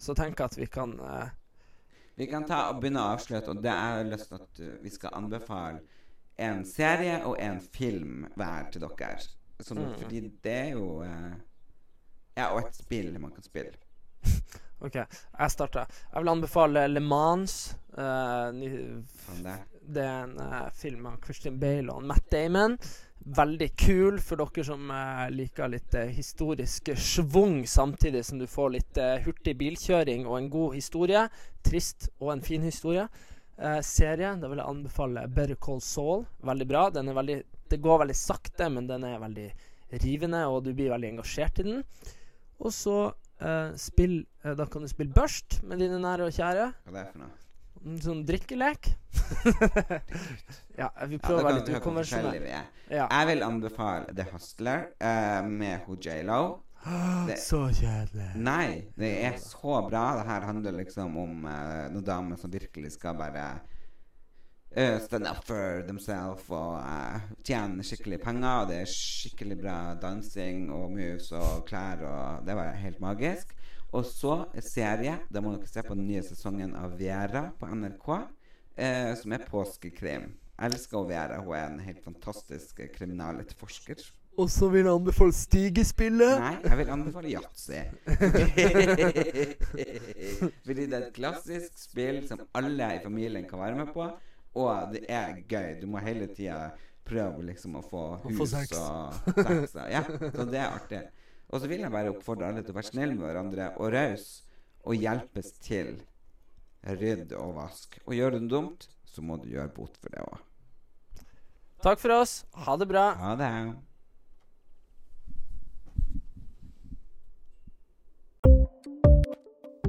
så tenker jeg at vi kan eh,
Vi kan ta og begynne å avslutte, og det er jeg lyst til at uh, vi skal anbefale en serie og en film hver til dere. Sånn, Fordi det er jo eh, Ja, og et spill man kan spille.
OK, jeg starter. Jeg vil anbefale Le Mans. eh, ny,
Sånn det.
Det er en eh, film av Christian Bale og Matt Damon. Veldig kul for dere som eh, liker litt eh, historisk schwung, samtidig som du får litt eh, hurtig bilkjøring og en god historie. Trist og en fin historie. Eh, serie, da vil jeg anbefale Better Call Saul. Veldig bra. Den er veldig, det går veldig sakte, men den er veldig rivende, og du blir veldig engasjert i den. Og så eh, spill eh, Da kan du spille Børst med dine nære og kjære.
Hva er det for noe?
En sånn drikkelek. ja, vi
Ja, da
prøver å
kan
være
du høre hvor
litt
forskjellige
ukonvensjonelle.
vi er.
Ja.
Jeg vil anbefale The Hustler eh, med ho J.Lo. Det-
Så kjedelig.
Nei, det er så bra. Det her handler liksom om eh, noen damer som virkelig skal bare eh, stand up for themselves og eh, tjene skikkelig penger. Og det er skikkelig bra dansing og moves og klær og Det var helt magisk. Og så serie. Da må dere se på den nye sesongen av Vera på NRK, eh, som er påskekrim. Jeg elsker hun Vera. Hun er en helt fantastisk eh, kriminaletterforsker.
Og så vil jeg anbefale Stigespillet.
Nei, jeg vil anbefale yatzy. Fordi det er et klassisk spill som alle i familien kan være med på, og det er gøy. Du må hele tida prøve liksom å få hus
få sex.
og sex. og- Ja, så det er artig. Og så vil jeg bare oppfordre alle til å være snille med hverandre og raus og hjelpes til. Rydd og vask. Og gjør du det dumt, så må du gjøre bot for det òg.
Takk for oss. Ha det bra.
Ha det.